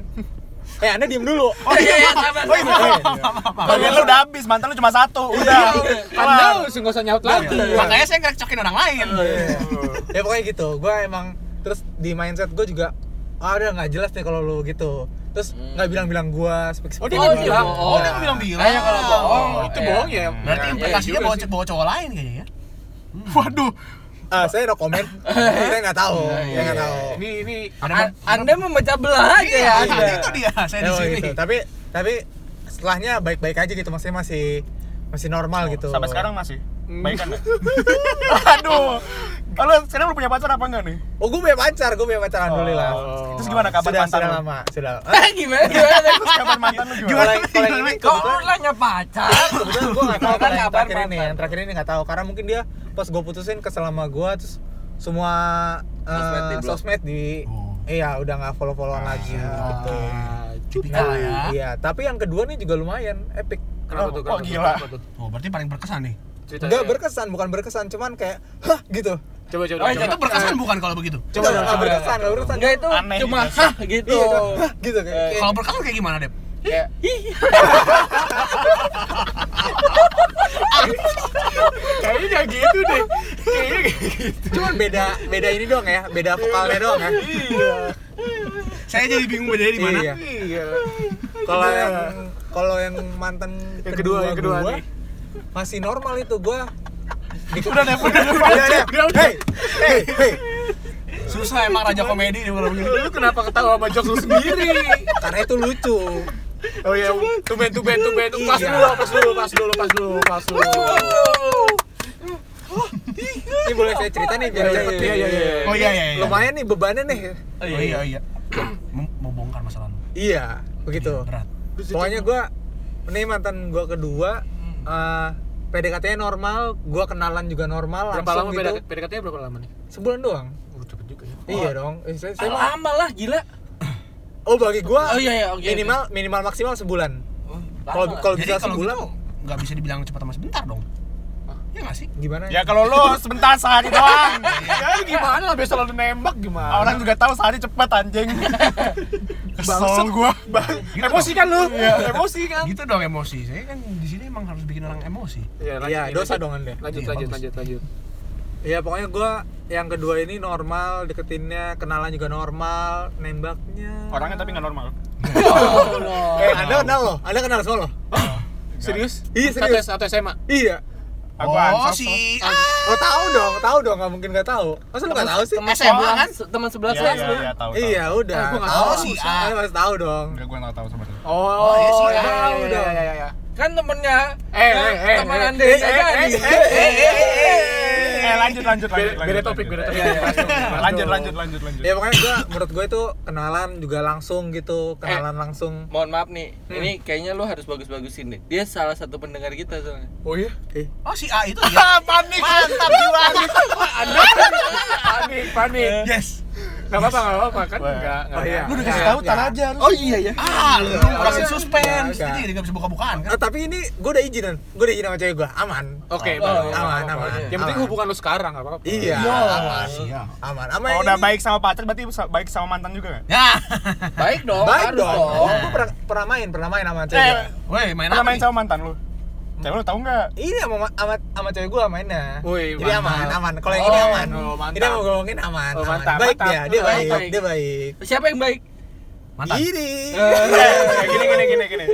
eh Anda diem dulu.
Oh iya, iya, sabar.
Eh,
bagian lu udah habis mantan lu cuma satu udah
iya. Anda sih nggak usah nyaut lagi.
Makanya saya ngerecokin orang lain.
ya pokoknya gitu gue emang terus di mindset gue juga ah udah nggak jelas nih kalau lu gitu terus nggak bilang-bilang gue spek
Oh, dia
Oh,
nggak
dia
Nah.
bilang.
bohong.
Oh, dia bilang bilang.
Kayaknya kalau bohong,
Oh, itu bohong ya.
Berarti
Iya
implikasinya
juga
bawa,
sih.
bawa cowok lain kayaknya ya.
waduh
Ah, saya no comment saya nggak tahu saya nggak tahu
iya, Ini ini
A- Anda membaca belah aja ya, Anda.
Iya, itu dia.
Ya,
Saya di
pokoknya
sini.
gitu. tapi tapi setelahnya baik-baik aja gitu maksudnya masih masih normal gitu
sampai sekarang masih baik kan aduh kalau sekarang lu punya pacar apa enggak nih
oh gue punya pacar gue punya pacar alhamdulillah
Oh.
terus gimana kabar
sudah
mantan
sudah
lu
lama sudah
Ah, gimana gimana?
terus kabar mantan lu gimana
Kalau yang- kalau yang ini
Kok
kebetulan-
lu nanya pacar?
kebetulan gue nggak tahu
Mantan
kalau yang
kabar
terakhir ini
mantan.
yang terakhir ini nggak tahu karena mungkin dia pas gue putusin keselama gue terus semua eh,
Sosmed di blok.
sosmed di
Oh.
iya udah nggak follow followan lagi gitu
Tipikal ya.
iya tapi yang kedua nih juga lumayan epic
kenapa tuh? Kenapa tuh?
Wah, gila.
Kenapa tuh?
Oh, berarti paling berkesan nih.
Ceritanya.
nggak berkesan bukan berkesan cuman kayak hah gitu
Coba coba.
Oh,
coba.
Itu berkesan bukan kalau begitu?
coba nggak
coba.
berkesan nggak berkesan
Enggak itu
Aneh
cuma
gitu.
hah gitu.
iya cuman, hah gitu kayak, kayak-
Kalau berkesan kayak gimana, Dep?
Kayak- Kayaknya nggak gitu deh. Kayaknya nggak gitu.
cuman beda beda ini doang ya beda vokalnya doang ya
Saya jadi bingung bedanya di mana.
Iya.
Iya.
kalau yang kalau yang mantan
Yang kedua, yang kedua
gua,
nih.
masih normal itu gua
udah deh udah deh
Iya, iya. Hey, hey, hey.
Susah emang raja komedi di malam ini.
Lu kenapa ketawa sama jokes lu sendiri?
Karena itu lucu.
Oh iya, tumben tumben tumben. Pas
Iya.
dulu, pas dulu, pas dulu, pas dulu, pas dulu.
Ini boleh saya cerita nih biar
Iya,
cepet
iya,
nih.
iya, iya.
Oh iya iya. iya.
Lumayan nih bebannya nih.
Oh iya iya. Mem- Mau bongkar masalah lu.
Iya, begitu.
Berat.
Pokoknya gua ini mantan gua kedua
Hmm.
eh PDKT-nya normal, gua kenalan juga normal
Berapa lama
langsung gitu.
PDKT PDKT-nya berapa lama nih?
Sebulan doang.
Oh, Ah. cepet juga ya.
Iya dong. Eh, saya- saya mah-
Lama lah gila.
oh bagi gua
Oh iya iya oke.
minimal minimal maksimal sebulan.
oke.
Kalau
Lama lah.
kalau
Jadi
bisa
kalau
sebulan
gitu nggak bisa dibilang cepat sama sebentar dong. ya nggak sih
gimana
Ya kalau lo sebentar sehari doang.
Ya gimana lah biasa selalu nembak gimana?
Orang juga tahu sehari cepet anjing. Kesel gua.
emosi kan lu? emosi kan.
gitu dong emosi saya kan di sini emang harus bikin orang emosi
Iya,
Iya, dosa dong Anda.
Lanjut,
Iya,
lanjut,
bagus.
lanjut, lanjut.
Ya pokoknya gua yang kedua ini normal, deketinnya, kenalan juga normal, nembaknya.
Orangnya tapi nggak normal.
Eh, Anda kenal loh? Anda kenal semua loh?
Serius?
Iya,
Satu,
serius.
satu SMA.
Iya.
oh
answer, so.
si
Oh, tahu dong, tahu dong, nggak mungkin nggak tahu. Masa lu nggak tahu sih?
Teman
SMA
sebelah
kan?
Teman sebelah
Iya,
saya
iya,
sebenarnya.
iya, tahu. tahu.
Iya, udah.
Eh, gua nggak tahu sih, ah.
Anda harus tahu dong.
Enggak gua nggak tahu sama dia.
Oh,
iya sih,
iya,
iya,
tahu
iya,
dong.
iya,
Kan temennya.
Eh,
kan
eh, eh,
Teman
eh,
Andre
eh,
saya
eh,
tadi.
Eh, lanjut lanjut
Beda,
lanjut.
beda
lanjut,
topik, beda
lanjut. Iya,
topik. Iya.
Lanjut lanjut lanjut lanjut.
Ya pokoknya gua menurut gue itu kenalan juga langsung gitu, kenalan langsung.
Mohon maaf nih, ini kayaknya lu harus bagus-bagusin deh. Dia salah satu pendengar kita soalnya.
Oh iya.
Eh,
oh si A itu ya
Panik mantap jiwa.
Panik, panik.
Eh.
yes
Gak apa-apa, gak apa-apa kan?
Wah.
Enggak, enggak.
Oh, iya.
Lu dikasih tahu tar
Iya.
aja.
Oh iya ya.
ah lu orang
Iya,
suspense
iya.
jadi nggak bisa buka-bukaan kan
Eh, tapi ini gue udah izinan, gue udah izin sama cewek gue, aman.
Oke,
Oh,
bagus.
iya.
aman, aman.
Yang penting
Aman.
hubungan lu sekarang, gak apa-apa.
Iya, aman.
siap.
Aman, aman.
Kalau Oh, udah
ini-
baik sama pacar berarti sa- baik sama mantan juga nggak?
ya
Baik dong.
Baik
Oh, harus
dong. Gue pernah, pernah main, pernah main sama cewek. gua.
woi main
Pernah
apa
main
nih?
sama mantan lu?
Hmm.
Cewek lu tahu nggak?
Ini sama sama, sama cewek gue mainnya.
Woi,
Jadi aman,
mantap.
aman. Kalau yang ini
Oh,
aman.
oh, mantap.
Ini mau gue ngomongin aman.
Oh,
aman.
mantap,
Baik
mantap.
dia, dia
Oh,
baik,
baik.
dia baik.
Siapa yang baik?
mantan
Ini.
Eh, Kayak gini gini gini gini.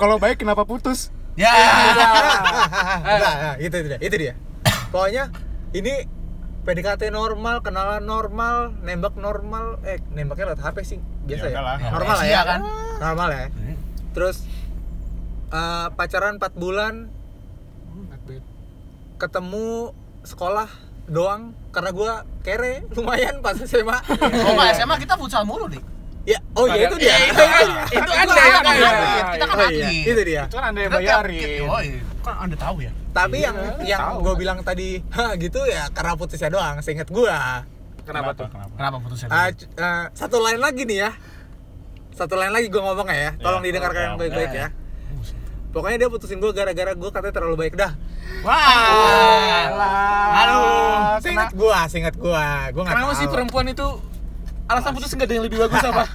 Kalau baik kenapa putus?
Iya,
ya
Nah, nah, gitu itu dia, itu dia. Pokoknya ini PDKT normal, kenalan normal, nembak normal, eh nembaknya lewat HP sih biasa
Ya
ya.
udahlah.
Normal lah
Iya
ya
kan?
Normal ya. Terus eh, pacaran 4 bulan ketemu sekolah doang karena gua kere lumayan pas SMA.
oh nggak SMA kita futsal mulu nih
ya, oh ya itu dia.
itu kan itu kan
Kita
saya
kan
kan.
atlet, kita kan
Oh iya,
atlet
itu dia.
Itu kan ada yang
Kita tiap-
bayarin.
Oh, iya. kan anda tahu ya
Tapi yang yang
tahu.
gua bilang tadi, "Hah, gitu ya karena putusnya doang, seinget gua.
Kenapa tuh?
Kenapa?
kenapa putusnya
Ah, c- eh, satu lain lagi nih ya. Satu lain lagi gua ngomong ya. Tolong
Ya,
didengarkan yang
ya.
baik-baik ya. Pokoknya dia putusin gua gara-gara gua katanya terlalu baik dah.
wah
Aduh,
Seinget gua, seinget gua. Gua enggak
Kenapa sih perempuan itu alasan putus enggak ada yang lebih bagus apa?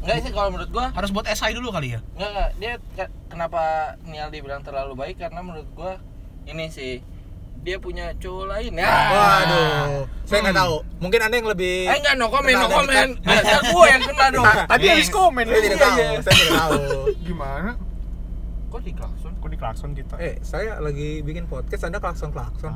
Enggak sih kalau menurut gua
harus buat SI dulu kali ya
Nggak, nggak. Dia ke- kenapa Nial dibilang terlalu baik karena menurut gua ini sih dia punya cowok lain ya.
Waduh, saya nggak tahu. Mungkin Anda yang lebih
Eh enggak no comment, no
Kenal dari-
comment. Biasa gua yang kena dong.
Tadi habis komen
iya,
saya tidak Iya. tahu,
iya.
saya tidak tahu.
Gimana?
Kok di klakson?
Kok di klakson kita?
Eh, saya lagi bikin podcast, Anda klakson-klakson.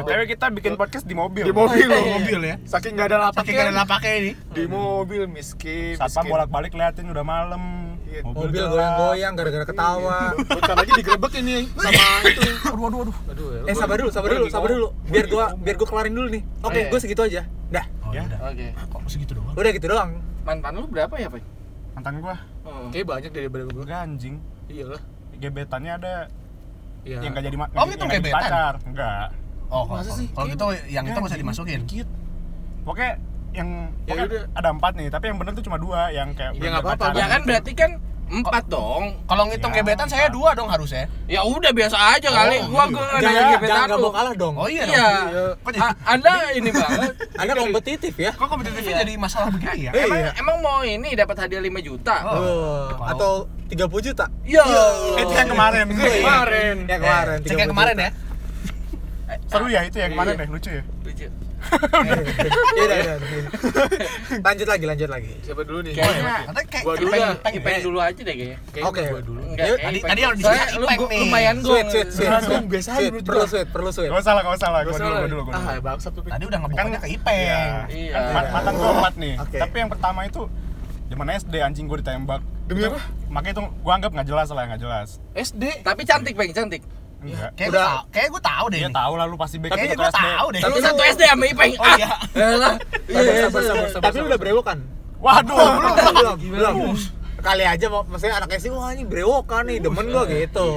BTW kita bikin podcast di mobil.
Di mobil.
Di mobil ya
Saking gak ada
pakai gak ada
lapaknya
lapaknya ini
di mobil miskin.
Satpam
miskin.
bolak-balik liatin udah malam.
Iya.
Mobil
gelap.
goyang-goyang gara-gara ketawa.
Bentar lagi digerebek ini sama itu. Aduh aduh aduh. Aduh. ya,
Eh,
gua-
sabar dulu, sabar
gua
dulu,
lagi
sabar
ngomong.
dulu. Biar gua biar gua kelarin dulu nih. Oke,
Iya.
gua segitu aja. Dah,
oh
Ya.
ya udah
Oke.
kok segitu doang
udah gitu doang.
Mantan lu berapa ya, Pak?
Mantan gua
Hmm.
Kayaknya banyak daripada gua.
enggak anjing.
Iyalah.
Gebetannya ada
Iya.
yang enggak jadi ma-
Oh,
yang
itu
nggak jadi
gebetan?
pacar. Enggak.
oh kalau-
Masa sih?
kalau gitu yang itu nggak usah dimasukin
Dikit.
Pokoknya yang
Ya
pokoknya
udah.
ada empat nih, tapi yang bener tuh cuma dua yang kayak
Ya
belum
nggak apa-apa,
pacaran.
Ya kan berarti kan empat dong.
kalau ngitung
Ya.
gebetan saya dua dong harusnya
Ya udah biasa aja kali. Gua gua nggak
Jangan
nanya
jangan
gebetan
nggak
lu.
mau kalah dong.
oh iya dong
Iya. A- Anda ini banget.
Anda kompetitif ya.
kok kompetitifnya jadi masalah begini ya
Emang,
Iya.
emang mau ini dapat hadiah 5 juta?
Oh, atau 30 juta.
Iya.
Itu yang Eh, iya. kemarin.
Kemarin.
Ya kemarin,
cek yang kemarin ya
Seru ya itu yang
Eh,
kemarin
Iya.
deh, lucu ya.
Lucu.
Iya, udah, udah, udah. Lanjut lagi, lanjut lagi.
Siapa dulu nih?
Kayaknya
Oh, iya. katanya kayak
Gua dulu
ipeng
dah.
ipeng
Ipeng dulu aja deh kayaknya.
Oke.
gua dulu.
Enggak,
Yuk,
kayaknya
tadi-
Ipeng.
tadi yang
Soalnya
disebut
lu
Ipeng
gua-
nih.
lumayan gue.
Sweet, sweet, sweet.
Aduh,
sweet.
biasa aja
Sweet,
menurut
Perlu
gua.
sweet, perlu sweet.
Gak salah, gak salah. Gua
Gua
dulu,
salah.
gua dulu, gua dulu.
Ah, bangsat tuh.
tadi udah ngebukanya ke ipeng
Iya.
Iya.
Kan mat- Mantan gua empat nih.
Oke.
Tapi yang pertama itu zaman SD anjing gua ditembak.
Demi Iya apa?
Makanya itu gua anggap nggak jelas lah, nggak jelas.
SD.
Tapi cantik, Bang, cantik.
Enggak.
Udah.
kayak gue tau kayak gue tau deh
Dia
ini.
tahu lah lu pasti back
kayaknya
satu
gue
SD.
tau deh
Tapi
Lu-
satu SD sama Ipeng.
oh
Ah,
iya
elah.
Iya,
Sabar, sabar, sabar, sabar, Tapi lu udah berewokan?
Waduh, belum.
belum, belum. Kali aja mau- maksudnya anaknya sih wah ini berewokan nih, demen gua gitu.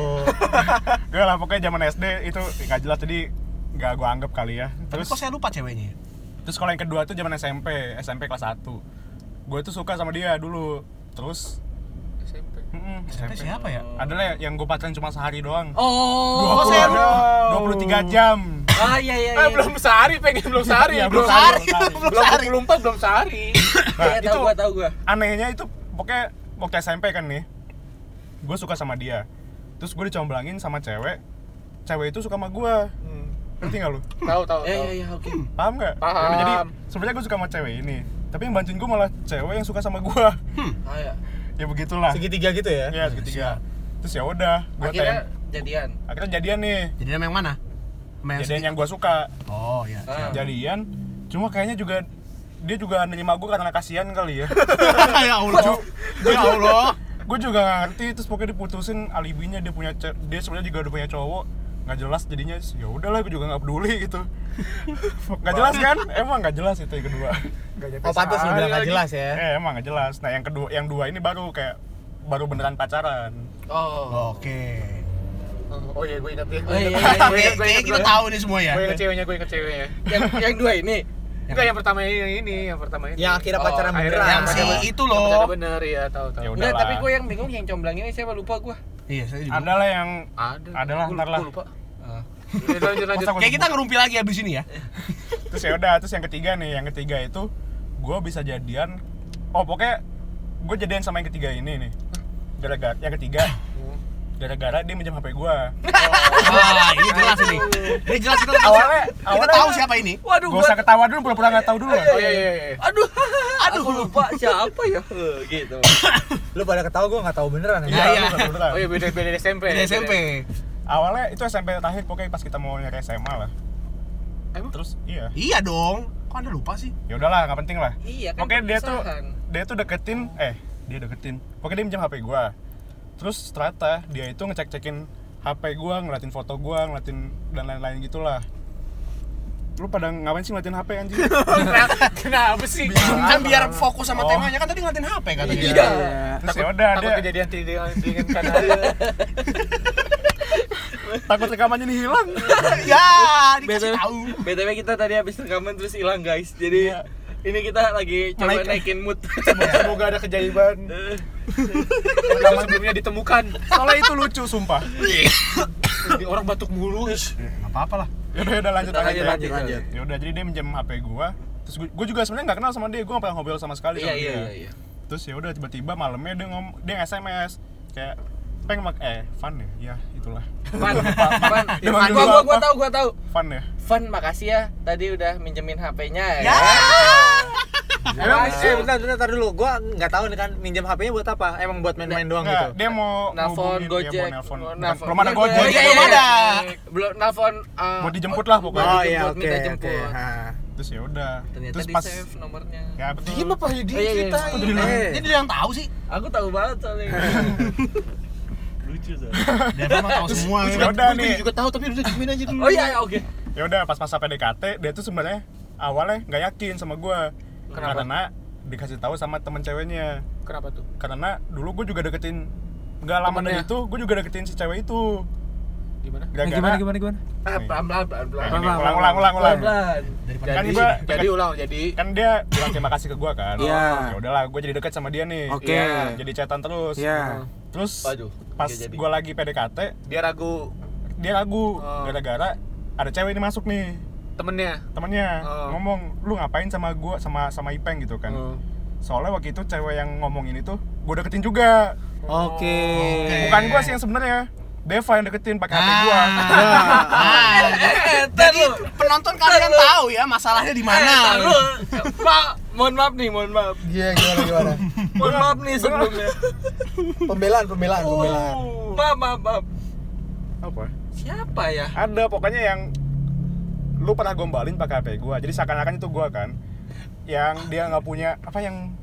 Gak lah pokoknya zaman SD itu nggak jelas jadi nggak gua anggap kali ya.
tapi
Terus
kok saya lupa ceweknya
terus kalau yang kedua tuh zaman SMP, SMP kelas 1. Gua itu suka sama dia dulu. Terus
SMP.
mm-mm,
SMP siapa ya?
Adalah yang gue pacaran cuma sehari doang.
Oh,
Oh,
saya
ada 23 jam.
Ah iya iya.
Eh, belum sehari pengen belum sehari.
Iya,
belum
belum
sehari.
sehari.
Belum 24 belum sehari.
Nah,
Iya,
itu
tahu gua tahu gua.
anehnya itu pokoknya waktu SMP kan nih. Gue suka sama dia. Terus gue dicomblangin sama cewek. Cewek itu suka sama gue. Ngerti gak lu?
Tahu Oh, tahu
Iya
tahu.
iya iya oke.
Paham gak?
Paham.
Jadi sebenarnya gue suka sama cewek ini. Tapi yang bantuin gue malah cewek yang suka sama gue.
Ah ya.
ya begitulah.
segitiga gitu ya
Ya segitiga. Terus ya udah, gue
Akhirnya jadian.
akhirnya jadian nih.
Jadi nama yang mana? Sama yang
Jadian
sedikit?
yang gue suka.
Oh iya.
Ah.
jadian cuma kayaknya juga dia juga nerima gue karena kasihan kali ya
ya Allah. ya Allah.
gue juga nggak ngerti terus pokoknya diputusin alibinya dia punya ce- dia sebenarnya juga udah punya cowok nggak jelas jadinya ya udahlah gue juga nggak peduli gitu nggak jelas kan emang nggak jelas itu yang kedua
oh pantas lu bilang gak jelas ya
eh emang nggak jelas nah yang kedua yang dua ini baru kayak baru beneran pacaran
Oh.
Oke.
Oh iya gue ingat ya.
Oh,
Gue ingat.
iya, iya, iya.
Gue ingat, gue
Kayaknya
ingat,
kita
gue
tahu nih semua ya.
Gue inget ceweknya, gue inget ceweknya.
Yang yang dua ini.
Enggak yang pertama ini, yang ini, yang pertama ini.
yang akhirnya
Oh,
pacaran
akhirnya
beneran
Yang
Yang
si
pertama.
itu
Yang pertama
loh.
bener ya, tahu tahu.
ya udah
Enggak, tapi gua yang bingung yang comblang ini siapa lupa gua.
Iya, saya juga.
adalah yang
Ada.
Adalah,
Gua
ntar lah. Ah.
lupa. Ya, lanjut lanjut.
Masa gua-
Kayak kita ngerumpi lagi abis ini ya.
terus ya udah terus yang ketiga nih yang ketiga itu gue bisa jadian oh pokoknya gue jadian sama yang ketiga ini nih gara-gara yang ketiga gara-gara dia minjem hp gue
Wah, ini jelas ini. Ini jelas kita tahu.
awalnya
Kita
awalnya
tahu siapa ini.
Waduh,
gak usah ketawa dulu pura-pura nggak tahu dulu
Oh iya iya iya.
Aduh, aduh. Aku lupa siapa ya. Eh, gitu.
lu pada ketawa gue gak tahu beneran
Iya,
ya
iya.
lu nggak tahu.
Oh iya beda beda SMP.
Dari SMP.
awalnya itu SMP terakhir pokoknya pas kita mau nyari SMA lah
Emang?
terus iya
Iya dong. Kok Anda lupa sih?
ya udahlah nggak penting lah
Iya kan.
pokoknya dia tuh
perpisahan.
dia tuh deketin eh dia deketin pokoknya dia minjem hp gue terus ternyata dia itu ngecek-cekin hp gue ngeliatin foto gue ngeliatin dan lain-lain gitulah lu pada ngapain sih ngeliatin hp anjing
Kenapa sih?
Kan biar fokus sama
Oh.
temanya kan tadi ngeliatin HP katanya.
Iya.
terus ya udah
Takut
dia
kejadian tidak diinginkan aja.
takut rekamannya nih hilang
ya,
BTW
dikasih tahu.
BTW kita tadi habis rekaman terus hilang guys. Jadi ini kita lagi coba
Iya. Naik-
naikin mood.
Semoga ada kejadian rekaman sebelumnya ditemukan.
soalnya itu lucu sumpah
Ini orang batuk mulu. ish.
Enggak apa-apa lah.
ya udah udah lanjut
Lanjut,
aja
lanjut, lanjut.
ya udah jadi dia minjem hp gue terus gue juga sebenarnya nggak kenal sama dia gue nggak pernah ngobrol sama sekali
Iya
sama
iya
dia.
iya, iya.
terus ya udah tiba-tiba malamnya dia ngom dia sms kayak peng mak eh fun ya ya itulah
Fan, fan,
Dia
fan.
manggil
Gua
gua
gua gua
apa?
tahu, gua tahu.
fun ya
Fan, makasih ya tadi udah minjemin HP-nya
Ya.
ya.
emang eh bentar bentar bentar dulu gue nggak tahu nih kan minjem hp-nya buat apa emang buat main-main doang
Nggak,
gitu
dia mau
Nelfon,
ngubungin,
Gojek.
dia mau nelfon
Oh,
Bukan,
nelfon.
belum ada
Iya,
gojek
iya,
Belum
iya.
ada.
Belum nelfon eh,
mau dijemput lah pokoknya
oh
Minta
iya
jemput,
oke
minta
oke
jemput.
ha.
terus ya udah
Ternyata
terus
di
pas
save nomornya.
ya betul
Diem apa ya dia
Iya, iya,
cerita?
iya.
ini?
Eh,
Jadi dia yang tahu sih.
Aku tahu banget soalnya. Lucu soalnya.
Dia memang tahu semua.
terus ya
ya.
udah nih
juga tahu tapi udah diemin aja dulu.
Oh iya, iya, oke.
ya udah pas masa PDKT dia tuh sebenarnya awalnya nggak yakin sama gua
Kenapa?
karena dikasih tahu sama temen ceweknya
Kenapa tuh?
karena dulu gue juga deketin nggak lama
Temennya.
dari itu gue juga deketin si cewek itu
Gimana?
gara-gara
Eh, gimana gimana gimana
Ah, pelan-pelan pelan-pelan.
Kayak gini, Nah, ulang ulang ulang ulang
Pelan-pelan.
Daripada
kan
Jadi-
gue
Jadi ulang jadi
kan dia bilang terima kasih ke gue kan
Iya.
ya udahlah gue jadi dekat sama dia nih
Oke.
Iya, jadi chatan terus
Iya.
terus
Waduh,
pas
nggak jadi.
gue lagi PDKT
dia ragu
dia ragu
Oh.
gara-gara ada cewek ini masuk nih
temennya.
temennya
Oh.
ngomong lu ngapain sama gue sama sama Ipeng gitu kan
Oh.
soalnya waktu itu cewek yang ngomong ini tuh gue deketin juga
oke
Eh.
bukan gue sih yang sebenarnya Deva yang deketin pakai HP gue Iya.
Ah.
Eh, ntar
Jadi
lu.
penonton kalian tahu ya masalahnya di mana.
Ntar lu.
Oh.
Pak, mohon maaf nih, mohon maaf.
iya gimana gimana
Iya.
Mohon maaf nih Iya, sebelumnya.
pembelaan pembelaan pembelaan
Maaf, maaf, maaf.
apa
Siapa ya?
ada pokoknya yang lu pernah gombalin pakai HP gua jadi seakan-akan itu gua kan yang dia nggak punya apa yang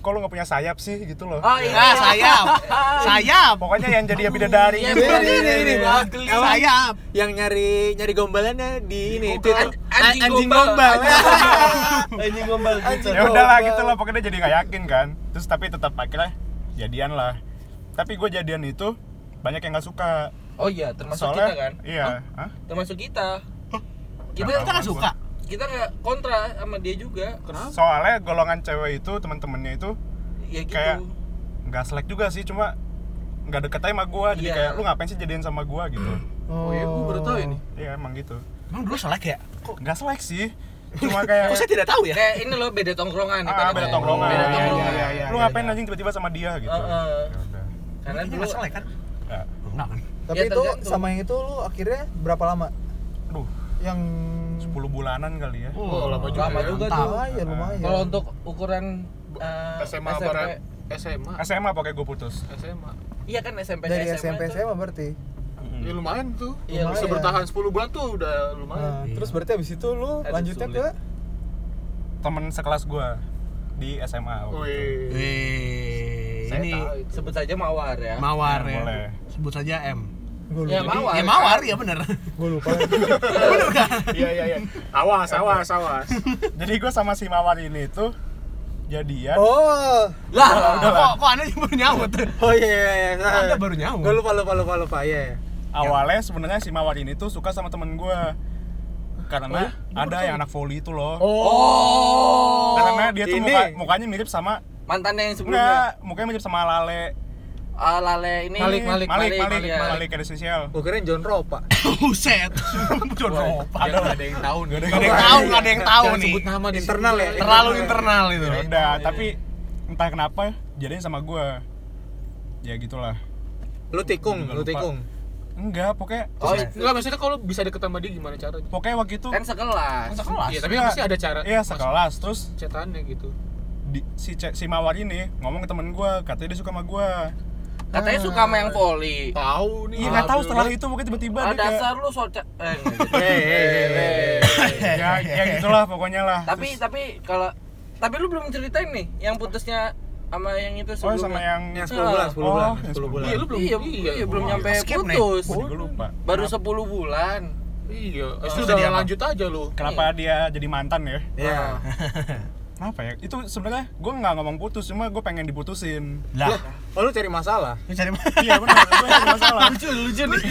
kok lu nggak punya sayap sih gitu loh
Oh
Ah, sayap. Sayap.
pokoknya yang jadi ya bidadari
Iya,
gitu.
bidadari.
ini ini ini
Wah,
Bang.
geli.
Emang
Sayap.
yang nyari nyari gombalannya di ini
Google.
Twitter.
An- anjing
An-
gombal.
anjing gombal Twitter.
ya udahlah gitu loh pokoknya dia jadi nggak yakin kan terus tapi tetap akhirnya jadian lah tapi gua jadian itu banyak yang nggak suka
Oh iya, termasuk
soalnya
kita kan?
iya Hah?
Termasuk kita. Kita
Kita nggak suka.
kita nggak kontra sama dia juga. Kenapa?
soalnya golongan cewek itu teman-temannya itu
Ya gitu.
Kayak- nggak selek juga sih cuma nggak deket aja sama gue jadi
Iya.
kayak lu ngapain sih jadian sama gue gitu
Oh iya, gue baru tahu ini.
iya emang gitu
Emang dulu selek ya?
nggak selek sih
Eh.
cuma kayak
Kok saya tidak tahu ya?
Kayak ini loh beda tongkrongan.
ah, beda
ya?"
tongkrongan
Beda
Iya,
tongkrongan.
iya, iya, lu ngapain anjing tiba-tiba sama dia gitu
Heeh.
Ya udah.
Karena
Ini
dulu
nggak selek kan?
Ya.
Enggak kan?
Tapi
Ya,
itu
tergantung.
sama yang itu lu akhirnya berapa lama?
aduh
Yang
10 bulanan kali ya
Oh, lama
juga Lama ya. juga tuh.
lumayan lumayan.
kalau untuk ukuran eh,
SMA
SMP,
barat SMA
SMA pokoknya gue putus
SMA
Iya kan SMP
dari
ke
SMP
tuh.
SMA berarti.
ya lumayan tuh
Iya,
bisa
lumayan.
bertahan 10 bulan tuh udah lumayan
Nah, terus berarti abis itu lu
Aduh,
lanjutnya
Iya. sulit.
ke
temen sekelas gue di SMA waktu itu.
Wih,
Wih,
saya
ini
tahu itu.
sebut saja mawar ya.
mawar
Ya,
ya.
boleh.
Sebut saja M.
gue
ya
lupa.
mawar.
ya mawar ya bener.
Gue lupa.
Iya iya iya. Awas awas awas.
jadi gue sama si Mawar ini tuh jadian
oh.
lah, kok, kok anda baru nyaut?
Oh iya iya iya.
anda baru nyaut.
Gue lupa lupa lupa lupa ya.
awalnya sebenarnya si Mawar ini tuh suka sama temen gue karena ada yang anak volley itu loh
Oh.
karena dia tuh
ini.
muka- mukanya mirip sama
Mantannya yang sebelumnya.
enggak mukanya mirip sama Lale
Ah, lale ini.
Malik, Malik,
Malik Malik
ya.
Malik ada sosial
Gue kira John Ropa.
Buset. Jodoh.
Ya, nggak ada yang tahu nih.
Gak ada
Gak
yang tahu, gak ada yang tahu
Jangan
nih.
sebut nama di
Internal ya.
Terlalu internal itu.
Ya udah, tapi entah kenapa jadinya sama gua Ya gitulah.
Lu tikung,
Gua juga
lu
lupa.
tikung.
Enggak, pokoknya
Oh,
Enggak maksudnya kalau bisa deket sama dia gimana caranya?
pokoknya waktu itu
kan sekelas.
Sekelas.
Iya, tapi
Enggak.
pasti ada cara.
Iya, sekelas. Terus
mas- Cetannya gitu.
di- si Ce- si Mawar ini ngomong ke temen gua, katanya dia suka sama gua.
Katanya suka sama yang volley.
Tahu nih.
Iya, enggak tahu setelah itu pokoknya tiba-tiba
Ah,
dia kayak
dasar lu soca. Eh, nggak gitu.
ya, ya gitulah pokoknya lah.
tapi tapi kalau tapi lu belum ceritain nih yang putusnya sama yang itu
Terus, oh,
sebelumnya.
sama yang
Yang 10 bulan, 10
Oh,
bulan,
yang
10 bulan.
Iya, lu belum.
Iya, iya, belum nyampe
Skip nih.
putus.
Waduh, gua lupa.
Baru 10 bulan.
Iya, itu
Terus
udah
jadi apa?
lanjut aja lu.
Kenapa dia jadi mantan ya?
Iya.
Kenapa ya? Itu sebenarnya gua nggak ngomong putus, cuma gua pengen diputusin.
Lah,
Oh lu cari masalah.
lu cari
Iya benar, gua ada masalah.
lucu nih.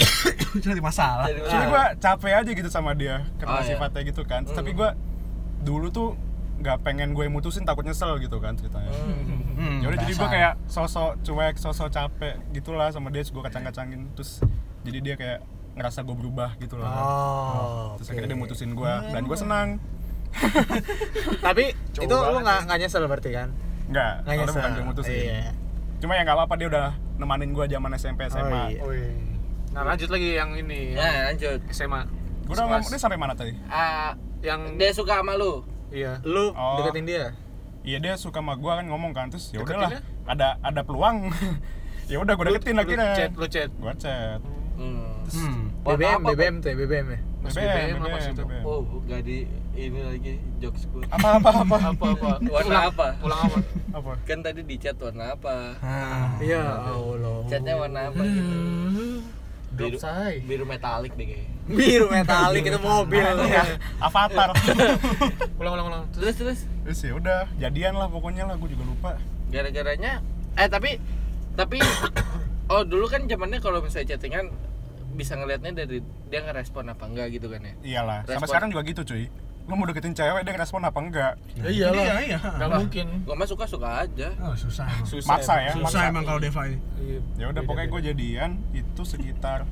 lu cari masalah.
Jadi
Jadi gue capek aja gitu sama dia karena
Ah. Oh, iya.
sifatnya gitu kan. Tapi gue dulu tuh nggak pengen gue mutusin takut nyesel gitu kan ceritanya.
Hmm,
Ya udah jadi gue
dasar.
kayak sosok cuek, sosok capek gitulah sama dia gue kacang-kacangin terus jadi dia kayak ngerasa gue berubah gitu
Nah.
lah.
Oh. Hmm.
Terus akhirnya dia mutusin gue dan gue senang.
Tapi itu lu nggak nggak nyesel berarti kan?
Nggak,
Nggak
soalnya
nyesel.
bukan gue mutusin.
Iya.
Cuma ya nggak apa-apa dia udah nemanin gue zaman SMP SMA.
Oh, iya.
Wih. Nah, lanjut lagi yang ini.
Ya,
yang
lanjut.
SMA.
Gue udah ngomong
Sekelas.
dia sampai mana tadi?
Ah,
yang
dia suka sama lu.
iya.
Lu
Oh.
deketin dia?
Iya dia suka sama gue kan ngomong kan terus ya udahlah ada ada peluang. ya udah gue deketin
Lu-
akhirnya.
Lu chat, lu chat.
Gua chat.
Hmm.
Hmm.
Buat
BBM,
apa,
BBM tuh ya, BBM ya?
Mas BBM,
BBM,
apa sih
BBM,
itu?
BBM.
Pak? Oh, gak di ini lagi jokes gue.
Apa apa apa
Apa apa?
Warna apa?
Pulang apa?
apa?
Kan tadi di chat warna apa?
Ah.
Iya, Allah.
Catnya warna apa gitu?
Drop
Biru,
say.
biru metalik deh kayaknya.
Biru metalik itu mobil.
Iya, Avatar.
Ulang ulang ulang.
Terus terus
Terus ya udah jadian lah pokoknya lah gue juga lupa.
gara-garanya eh tapi tapi oh dulu kan zamannya kalau misalnya chattingan bisa ngelihatnya dari dia ngerespon apa enggak gitu kan ya
Iyalah, sampai
Respon.
sekarang juga gitu cuy. Lu mau deketin cewek dia respon apa enggak?
iyalah.
Iya, iya.
Enggak mungkin.
gue mah suka suka aja
Oh, susah. emang.
Susah.
Maksa ya, maksa.
Susah emang kalau Deva ini.
Iya.
Ya udah pokoknya gue jadian itu sekitar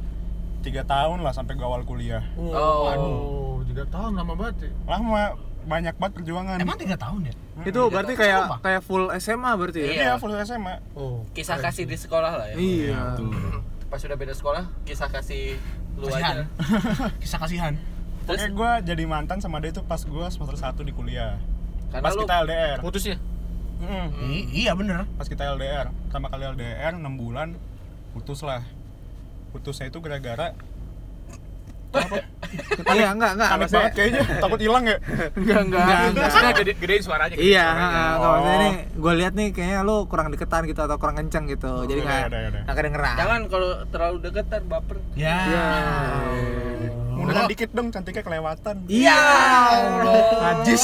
tiga tahun lah sampai gue awal kuliah.
Oh.
Aduh, tiga tahun lama banget. ya.
Lama banyak banget perjuangan.
Emang 3 tahun ya?
Hmm,
itu berarti kayak kayak full SMA berarti ya?
Iya.
Iya, full SMA.
Oh.
kisah kasih di sekolah lah ya
Iya.
pas sudah beda sekolah kisah kasih lu
Kasihan.
aja
Kisah kasihan.
terus
Pokoknya gue jadi mantan sama dia itu pas gue semester 1 di kuliah.
karena
Pas
lu
kita LDR.
Putusnya?
ya?
Mm.
I- iya bener.
pas kita LDR pertama kali LDR 6 bulan putus lah putusnya itu gara-gara
Iya, enggak, enggak.
panik
maksudnya-
banget kayaknya takut hilang ya
Enggak, enggak.
enggak.
Maksudnya gede, gedein suaranya. gedein
Iya,
suaranya.
heeh.
Oh.
Kalau maksudnya nih, gue lihat nih kayaknya lu kurang deketan gitu atau kurang kenceng gitu. Jadi
Yaudah,
nggak
yaudah, yaudah.
nggak kedengeran.
jangan kalau terlalu deket ntar baper
Ya.
munduran dikit dong cantiknya kelewatan
Oh. Iya.
najis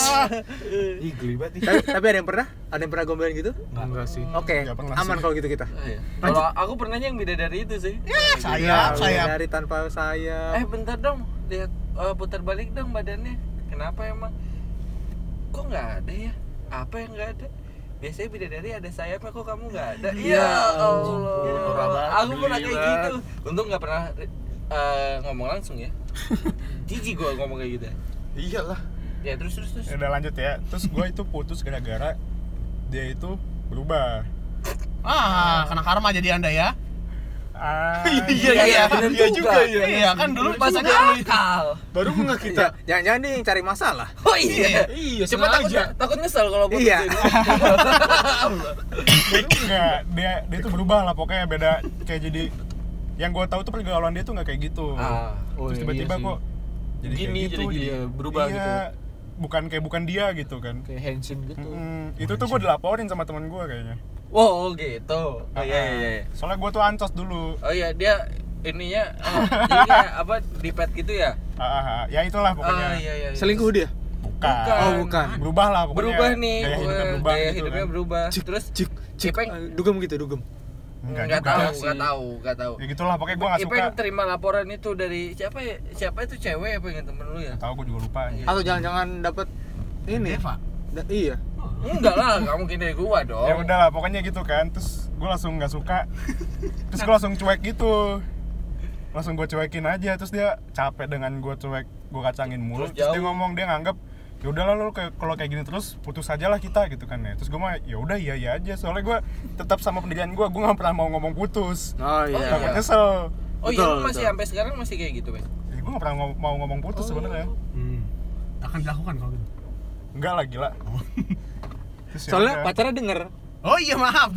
Ih, geli banget
tapi, tapi ada yang pernah? Ada yang pernah gombalin gitu?
Enggak sih.
Oke,
Nggak pernah
aman
sih.
Oh,
kalau gitu kita.
Ah, iya. kalau aku pernahnya yang beda dari itu sih
Ya,
Sayap, sayap.
Dari tanpa sayap.
eh bentar dong lihat eh, putar balik dong badannya kenapa emang kok nggak ada ya apa yang nggak ada biasanya bidadari ada sayapnya kok kamu nggak ada
Iya,
ya
ampun,
Allah
Alhamdulillah.
aku pernah kayak gitu untung nggak pernah eh, ngomong langsung ya jijik gua ngomong kayak gitu
iyalah Iya,
ya terus terus terus
Ya udah lanjut ya terus gue itu putus gara-gara dia itu berubah
Ah, kena karma jadi anda ya?
ah
iya, iya,
bener
iya juga, iya.
Iya kan dulu pas
Masuk akal
baru nggak kita
Jangan-jangan dia yang cari masalah.
oh iya
Iya,
Cuma
senang
takut,
aja.
takut nyesel kalau gua
Iya.
baru nggak dia dia itu berubah lah pokoknya beda kayak jadi yang gue tahu tuh pergaulan dia tuh nggak kayak gitu
Ah,
oh iya
terus tiba-tiba
sih.
kok jadi
Gini,
kayak gitu,
jadi gini, berubah
iya,
gitu.
bukan kayak bukan dia gitu kan
kayak handsome gitu
Mm-mm. itu tuh gue dilaporin sama teman gue kayaknya
wow gitu oh iya iya iya
soalnya gue tuh ancos dulu
oh iya dia ininya oh, jadi kayak apa di pet gitu ya
ah, ah, ah. ya itulah pokoknya
Ah, iya, iya, iya.
selingkuh dia
bukan.
Bukan. Oh,
bukan.
berubah lah pokoknya
berubah nih
gaya
pokoknya.
hidupnya berubah
gaya
gitu
hidupnya
kan
berubah
cik
terus
cik cik
Ipeng-
Eh, dugem gitu dugem
Enggak
nggak
juga
tahu
sih.
nggak tahu nggak tahu
ya gitulah pokoknya gue nggak suka
Ipeng terima laporan itu dari siapa ya? Siapa itu cewek apa yang temen lu ya?
tahu gue juga lupa anjir.
atau jangan-jangan dapat ini
Deva.
Da- iya
Enggak lah, nggak mungkin dari gua dong.
ya udah lah pokoknya gitu kan terus gue langsung nggak suka terus gue langsung cuek gitu langsung gue cuekin aja terus dia capek dengan gue cuek gue kacangin mulu
Terus
terus, dia
jauh.
ngomong dia nganggep ya udahlah lo kayak- kalau kayak gini terus putus aja lah kita gitu kan ya terus gue mah ya udah iya iya aja soalnya gue tetap sama pendirian gue gue nggak pernah mau ngomong putus
oh
iya.
iya
takut nyesel
Oh iya,
Betul,
lu masih
betul.
sampai sekarang masih kayak gitu, Bang.
ya, gue nggak pernah ngom- mau ngomong
Oh,
putus
iya.
sebenarnya
Hmm. Akan dilakukan kalau gitu.
enggak lah gila Terus ya
soalnya
udah.
pacarnya denger
Oh iya maaf.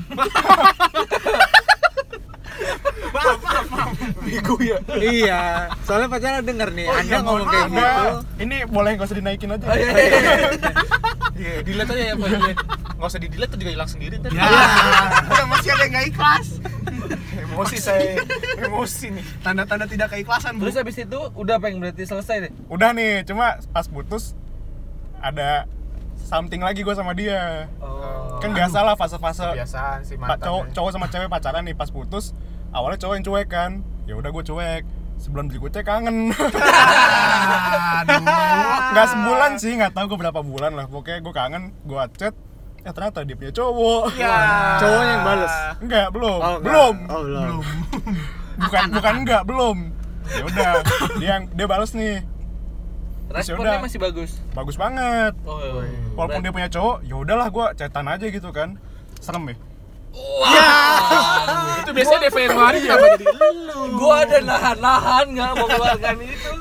maaf, maaf, maaf.
bego ya iya soalnya pacarnya denger nih
Oh,
anda
iya,
ngomong
mohon
kayak
maaf,
gitu Oh,
Nah, ini boleh nggak usah dinaikin aja ya?
Iya.
delete aja ya filenya nggak usah di delete juga hilang sendiri ntar
Ya. Udah masih ada yang nggak ikhlas.
emosi saya emosi nih
Tanda-tanda tidak keikhlasan, Bu.
Terus habis itu udah pengen berarti selesai deh.
udah nih cuma pas putus ada something lagi gue sama dia
Oh.
kan biasa lah fase-fase
biasaan sih
pak cowok cowok sama cewek pacaran nih pas putus awalnya cowok yang cuek kan ya udah gue cuek sebelum diri gue cuek kangen nggak sebulan sih nggak tahu gue berapa bulan lah pokoknya gue kangen gue chat ya ternyata dia punya cowok
cowoknya yang bales
enggak belum
Oh, enggak.
belum
oh, belum
bukan bukan enggak belum ya udah dia yang dia balas nih
Responnya
udah.
masih bagus.
bagus banget
Oh.
walaupun dia punya cowok ya udahlah gue cetan aja gitu kan serem ya
itu biasanya DP Januari ya jadi
Gua ada nahan-nahan nggak mau keluarkan itu.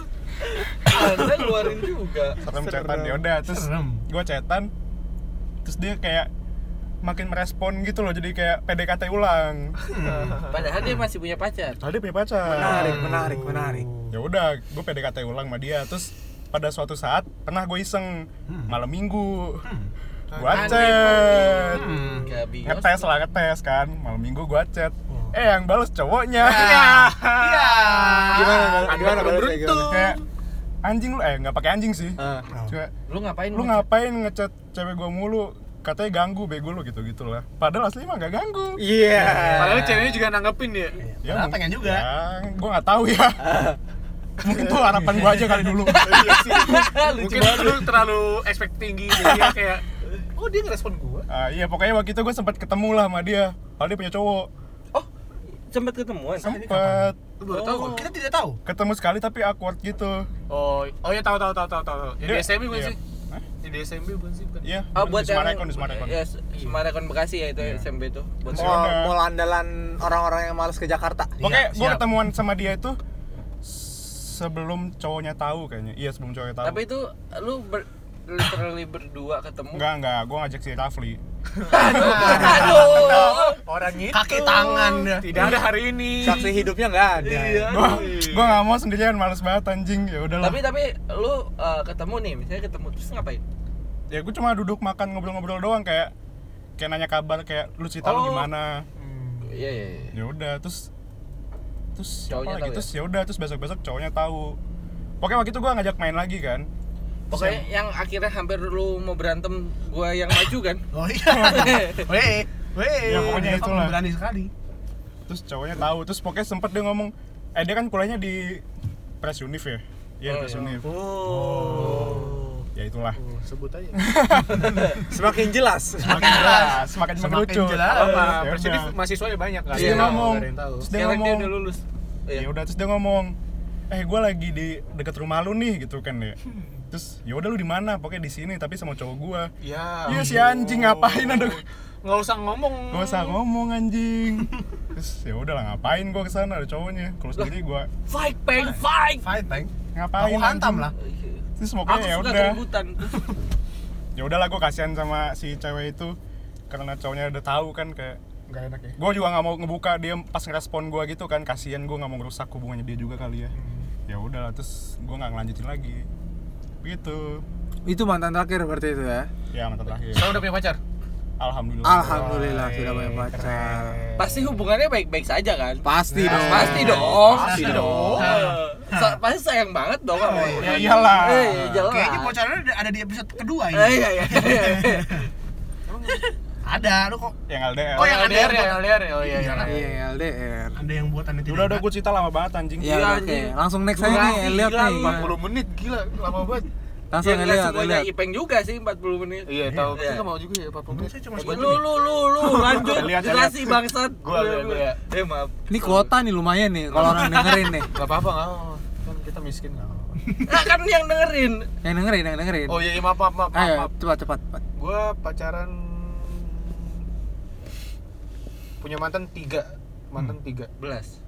Anda keluarin juga.
serem cetan ya udah terus gue cetan terus dia kayak makin merespon gitu loh jadi kayak PDKT ulang
Padahal dia masih punya pacar.
tadi punya pacar Hmm.
menarik menarik menarik
ya udah gue PDKT ulang sama dia terus pada suatu saat pernah gue iseng malam minggu gue
iya.
chat
Gak bingung.
Hmm. ngetes lah ngetes kan malam minggu gue chat eh yang balas cowoknya Nah.
Iya.
gimana gimana balasnya, gimana?
kayak anjing lu eh nggak pakai anjing sih
Ah.
Cuma,
Lu ngapain?
lu ngapain ngechat cewek gue mulu katanya ganggu bego lu gitu gitu lah padahal asli mah nggak ganggu
iya
padahal ceweknya juga nanggepin ya
Padahal pengen Iya. juga.
ya, gue nggak tahu ya mungkin tuh harapan gue aja kali dulu
Iya.
mungkin lu terlalu expect tinggi jadi dia kayak oh dia ngerespon gua
Ah, iya pokoknya waktu itu gue sempat ketemu lah sama dia kalau dia punya cowok
Oh, sempet ketemuan.
sempet
Lu baru tahu
Oh.
kok. Kita tidak tahu.
ketemu sekali tapi awkward gitu
oh oh ya tahu tahu tahu tahu tahu ya, di
Dia-
SMP bukan
iya.
sih ya, di SMP bukan sih bukan
iya
Oh, buat
di
yang
Semarekon di Semarekon
Iya,
Ya, Se- Semarekon Bekasi ya itu SMP tuh. Buat
Iya.
mall mall andalan orang-orang yang males ke Jakarta
Iya,
pokoknya gue
siap.
ketemuan sama dia itu sebelum cowoknya tahu kayaknya iya sebelum cowoknya tahu
Tapi itu lu ber- literally berdua ketemu.
enggak enggak gue ngajak si Rafli
Aduh.
Gitu.
Kaki tangan dah.
tidak ada hari ini
saksi hidupnya nggak ada
Iya.
gua gua nggak mau sendirian males banget anjing ya udahlah
Iya. tapi tapi lu uh, ketemu nih, misalnya ketemu terus ngapain?
ya gua cuma duduk makan ngobrol-ngobrol doang kayak kayak nanya kabar kayak lu cerita
Oh.
lu gimana
Iya iya iya.
ya udah terus terus siapa
Cowoknya
lagi
tahu ya?
terus ya udah terus besok-besok cowoknya tahu pokoknya waktu itu gua ngajak main lagi kan
Pokoknya yang akhirnya hampir lu mau berantem gua yang maju kan.
Oh iya. Weh. Weh.
Iya,
Ya, pokoknya
Dia kok
itulah.
Berani sekali.
terus cowoknya tahu terus pokoknya sempet dia ngomong eh dia kan kuliahnya di press univ ya iya di
Oh,
press
iya.
univ
oh
ya itulah
Oh, sebut aja
Semakin jelas.
semakin jelas semakin mengerucut
jelas apa
Ya
Persib
udah.
mahasiswanya banyak kan
terus
Iya,
dia ngomong
ada yang tahu
terus dia
Sekarang dia
ngomong
udah lulus.
Iya.
ya udah terus dia ngomong eh gue lagi di deket rumah lu nih gitu kan ya terus ya udah lu di mana pokoknya di sini tapi sama cowok gue
ya
Iya si anjing ngapain ada
nggak usah ngomong
gak usah ngomong anjing terus ya udah lah ngapain gue kesana ada cowoknya kalau sendiri gue
Fight, peng, fight.
fight bang aku
ngapain
hantam
anjing?
lah
terus
Aku
pokoknya ya
suka
udah
kerebutan.
ya udahlah gue kasihan sama si cewek itu karena cowoknya udah tahu kan kayak
nggak enak ya
gue juga nggak mau ngebuka dia pas ngerespon gue gitu kan kasihan gue nggak mau ngerusak hubungannya dia juga kali ya ya udahlah terus gue nggak ngelanjutin lagi gitu
Itu mantan terakhir berarti itu ya.
ya mantan terakhir
Sekarang udah punya pacar?
alhamdulillah
Alhamdulillah sudah punya pacar.
Pasti hubungannya baik-baik saja kan?
Pasti dong.
Pasti dong.
Pasti
Nah,
dong.
Sa- pasti sayang banget dong sama
ya
orang.
iyalah
Eh, ya jelas.
Kayaknya bocorannya ada- ada di episode kedua
Eh,
ini.
iya, iya, iya.
Ada, lu kok
yang LDR
Oh, yang LDR ya?
LDR ya? Oh iya iya
Iya, LDR.
ada yang buat anda tidak
Ya udah udah gue cerita lama banget Iya, anjing
Ya,
Gila,
oke.
anjing.
Langsung next aja nih, lihat nih.
40 menit gila lama banget
Langsung
Ya, nggak
lihat,
semuanya
lihat.
Ipeng juga sih 40 menit.
iya tahu
Iya.
kita mau juga ya 40 menit
Saya cuma
Lu lu lu lu lanjut
Lihat,
durasi bangsat.
Gua, gua, gua.
Eh maaf.
Ini kuota nih lumayan nih kalau orang dengerin nih.
nggak apa-apa nggak apa-apa. kan kita miskin nggak apa-apa
Nah, kan yang dengerin.
Yang dengerin, yang dengerin.
oh iya iya, maaf maaf maaf, maaf,
Ayo,
maaf.
cepat, cepat, cepat.
gue pacaran punya mantan tiga mantan tiga
Belas.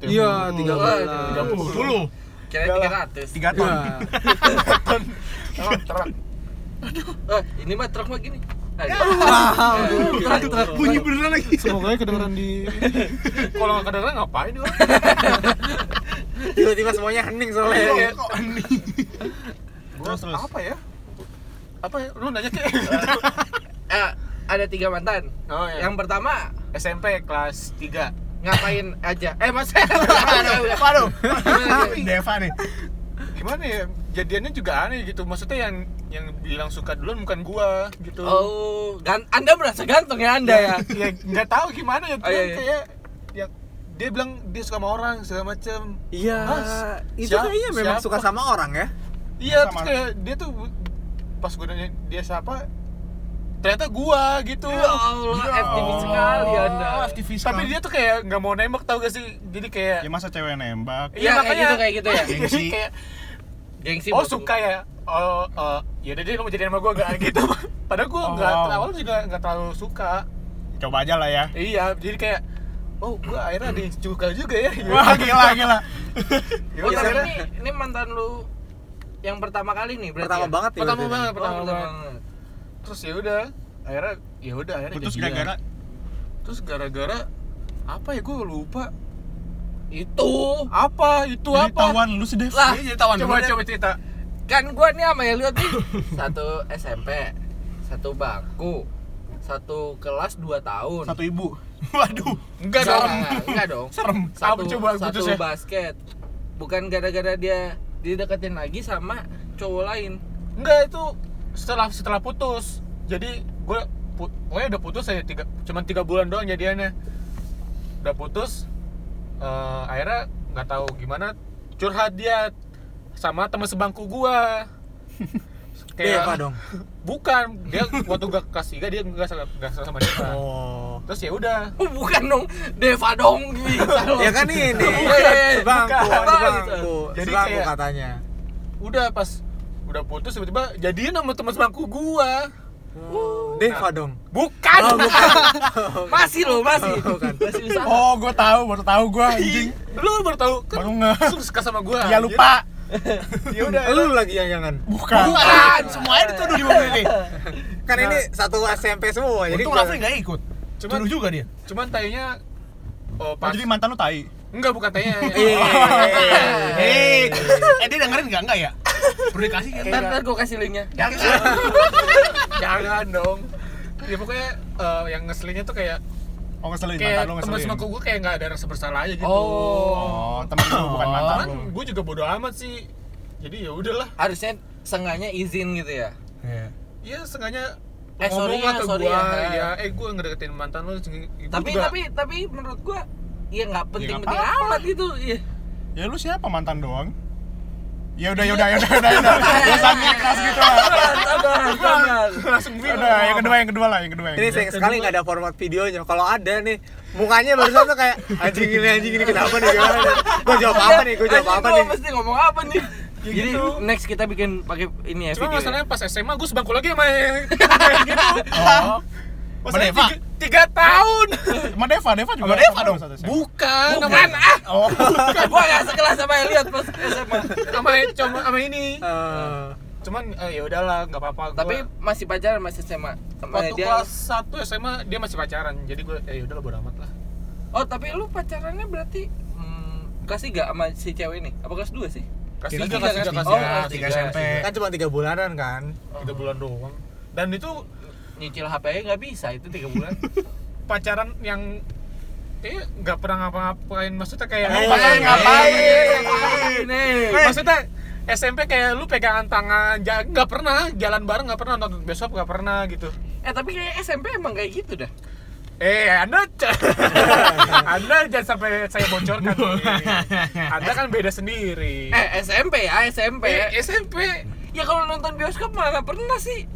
Iya, tiga
Wah,
belas.
30
Kira
Udah lah.
300.
tiga
Iya.
tahun
Terang, terang.
Eh, ini mah truk mah gini. Ayo. Eh,
bunyi beneran lagi.
Semoga kedengeran di Kalau nggak kedengeran ngapain lu?
Tiba-tiba semuanya hening soalnya.
Kok aneh. Gua
Terus, terus.
apa ya? Apa ya? Lu nanya ke
Eh, ada tiga mantan.
Oh iya.
Yang pertama
SMP kelas 3.
ngapain aja? Eh, Mas. Waduh.
Deva nih.
Gimana ya? Jadiannya juga aneh gitu. Maksudnya yang yang bilang suka duluan bukan gua gitu.
Oh, gan Anda merasa ganteng ya Anda ya?
ya nggak tahu gimana ya
Oh,
cuman
iya, iya.
kayak ya dia bilang dia suka sama orang segala macem
Iya,
Mas,
itu
siap-
kayaknya memang
siapa?
suka sama orang ya.
iya
Sama.
terus kayak dia tuh pas gue nanya dia siapa ternyata gua gitu
Ya Allah, FTV sekali Anda.
tapi dia tuh kayak nggak mau nembak tau gak sih jadi kayak
ya masa cewek nembak
Iya, kayak gitu, kayak gitu ya.
Jadi
Gengsi.
kayak,
Gengsi.
oh
bos.
suka ya oh eh, ya udah deh lu mau jadian sama gua gak gitu padahal gua nggak
Oh.
awal juga nggak terlalu suka
coba aja lah ya
iya jadi kayak oh gua akhirnya dicuka juga ya
wah gila gila
Ya
Oh,
udah,
tapi
akhirnya-
ini ini mantan lu yang pertama kali nih berarti.
Pertama
ya?
banget ya.
pertama
berarti.
banget
Oh,
pertama
pertama
banget
banget.
terus ya udah akhirnya ya udah akhirnya
putus
jadian.
gara-gara
terus gara-gara apa ya gue lupa
Itu
apa itu
jadi
apa
tawan lu sih Dev
lah
coba coba cerita
kan gua nih sama Elliot nih satu SMP, satu bangku, satu kelas 2 tahun.
satu ibu
enggak dong
Enggak, enggak dong.
serem
Satu,
apa coba
satu
putusnya
basket. Bukan gara-gara dia dideketin lagi sama cowok lain.
enggak itu setelah setelah putus jadi gue put, pokoknya udah putus aja tiga cuman tiga bulan doang jadiannya udah putus eh, akhirnya nggak tahu gimana curhat dia sama teman sebangku gua
Iya, Pak dong.
Bukan, dia waktu gak kelas 3 dia gak salah gak salah sama Deva.
Oh.
Terus ya udah.
Oh, bukan dong, Deva dong. gitu. Bisa dong.
Iya.
Ya kan ini.
Bukan.
Bangku,
Bukan.
bangku.
Jadi
Sebangku
kayak-
katanya.
Udah pas udah putus tiba-tiba jadian sama teman sebangku gua.
Deva dong.
Bukan.
Oh,
masih loh, masih.
kan.
Masih usaha.
oh gue tahu baru tahu gue anjing
Lu baru tahu kan
baru nge
langsung suka sama gua.
Iya,
ya lupa
Ya udah.
Lu lagi yang jangan.
bukan
Bukan, semuanya dituduh di mobil ini.
Kan ini satu SMP semua jadi
Untung
gua-
Rafli nggak ikut.
Cuman-
Tuduh juga dia.
Cuman tayanya oh,
Oh,
pas.
jadi Iya. mantan lu tai
Enggak bukan Ya, tayanya. iya,
Hei, eh dia dengerin nggak nggak ya? Udah dikasih
iya.
kan?
Ntar, ntar gue kasih linknya.
Jangan dong. Ya pokoknya eh, yang ngeselinnya tuh kayak
oh ngeselin mantan
kayak
lu
teman
ngeselin
sebangku gua kayak nggak ada rasa bersalah aja gitu.
oh temen lu bukan mantan
Cuman
lu
gua juga bodo amat sih. Jadi ya udahlah.
Harusnya sengaja izin gitu ya.
Iya sengaja
Eh, sorry
ngomong lah
ya,
ke
sorry
gua,
ya.
ya. eh gua ngedeketin mantan lu gua
tapi
juga- Ya
tapi tapi menurut gua ya nggak penting-penting
apa-apa.
amat gitu. Iya.
ya lu siapa mantan doang ya udah ya udah ya udah ya udah, ya udah. Dosanya keras gitu lah.
Tahan, tahan.
Langsung udah yang kedua yang kedua lah yang kedua. yang
Ini
kedua.
sayang sekali nggak ada format videonya. Kalau ada nih, mukanya barusan tuh kayak anjing ini anjing ini kenapa nih? Gue jawab apa nih? Gue jawab
Anjing,
apa
gua
nih?
mesti ngomong apa nih? gitu. Jadi next kita bikin pakai ini
Cuma
ya
Iya,
video.
masalahnya pas SMA gue sebangku lagi sama yang kayak gitu.
Oh.
Masalahnya
Berdeva.
tiga, tiga tahun.
Sama Deva, Deva juga.
Sama Deva dong.
Satu SMA.
Bukan, sama
Bukan Eh, ah.
Oh.
Gua gak sekelas sama Elliot pas SMA.
sama cuma sama ini. Cuman eh, ya udahlah, nggak apa-apa. Gua-
Tapi masih pacaran masih SMA. Sama
waktu
dia-
kelas 1 SMA dia masih pacaran. Jadi gue ya udahlah bodo amat lah.
Oh, tapi lu pacarannya berarti hmm, kelas 3 sama si cewek ini? Apa kelas 2 sih?
Kelas 3
Kelas tiga,
kelas
kelas
3 kelas
tiga.
3
Oh, kelas tiga SMP.
Kan cuma tiga bulanan kan.
Tiga bulan doang. Dan itu
Nyicil HP aja nggak bisa itu 3 bulan.
pacaran yang eh nggak pernah ngapa-ngapain maksudnya kayak
Eh,
Pacaran ngapain?
Nih.
maksudnya SMP kayak lu pegangan tangan ja- nggak pernah jalan bareng nggak pernah nonton besok nggak pernah gitu
Eh, tapi kayak SMP emang kayak gitu dah.
eh anda c- anda jangan sampai saya bocorkan nih. anda kan beda sendiri
Eh, SMP ya, SMP.
eh, SMP
Ya kalau nonton bioskop mana pernah sih?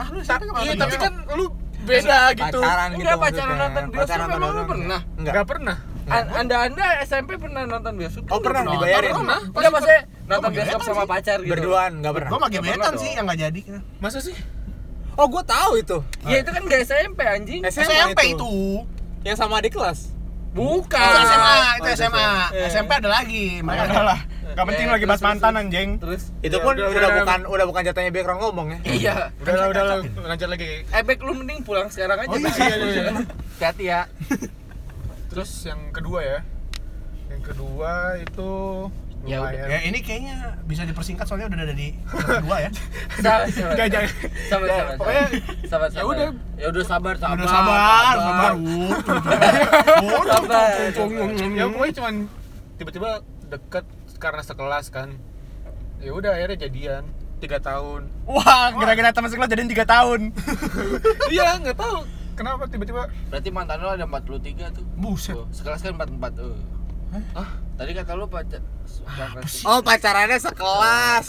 Ah, lu
Ta-
SMP nggak
iya
nonton
tapi
bioskop?
kan lu beda gitu
Pacaran gitu.
Enggak pacaran
maksudnya.
nonton bioskop
Pacaran
emang lu
nonton
pernah?
Enggak.
nggak pernah
An- Anda-anda SMP pernah nonton bioskop?
Oh, pernah, dibayarin.
Pernah.
Pas
Enggak
itu-
maksudnya nonton
pakai
bioskop
gebetan
sama
sih.
pacar gitu.
Berduaan nggak pernah.
Gue mah gebetan
Pernah
sih
dong.
yang nggak jadi.
masa sih
Oh, gue tahu itu.
Ya itu kan enggak SMP anjing.
SMP itu.
Yang sama di kelas.
Bukan.
Itu SMA, itu
Oh, itu
SMA. SMP ada lagi.
Ya
Makanya
udah lah. Gak penting
Eh,
lagi bahas
terus,
mantan
terus.
anjing.
Terus
Itu pun
udah,
Ya, udah,
udah.
bukan udah bukan jatahnya background ngomong ya.
iya.
udah lah udah lah lanjut lagi
Ebek lu mending pulang sekarang aja.
Oh, iya,
Bang.
iya, iya, iya.
Hati-hati ya.
terus yang kedua ya yang kedua itu
Ya
lumayan.
Ya ini kayaknya bisa dipersingkat soalnya udah ada di kedua ya.
Sabar, sabar.
Jangan, jangan.
Sabar,
Jangan.
sabar.
Pokoknya,
sabar,
ya
sabar.
udah.
Ya udah sabar, sabar.
Udah sabar, sabar. Uh,
Sabar. Sabar.
ya pokoknya cuman tiba-tiba deket karena sekelas kan ya udah akhirnya jadian tiga tahun
Wah, gara-gara teman sekolah jadian 3 tahun.
iya nggak tahu kenapa tiba-tiba
Berarti mantan lu ada 43 tuh.
Buset.
Tuh, Sekelas kan 44. tuh. Hah? Tadi kata lu pacar. Iya. Apa sih?
Oh, pacarannya sekelas.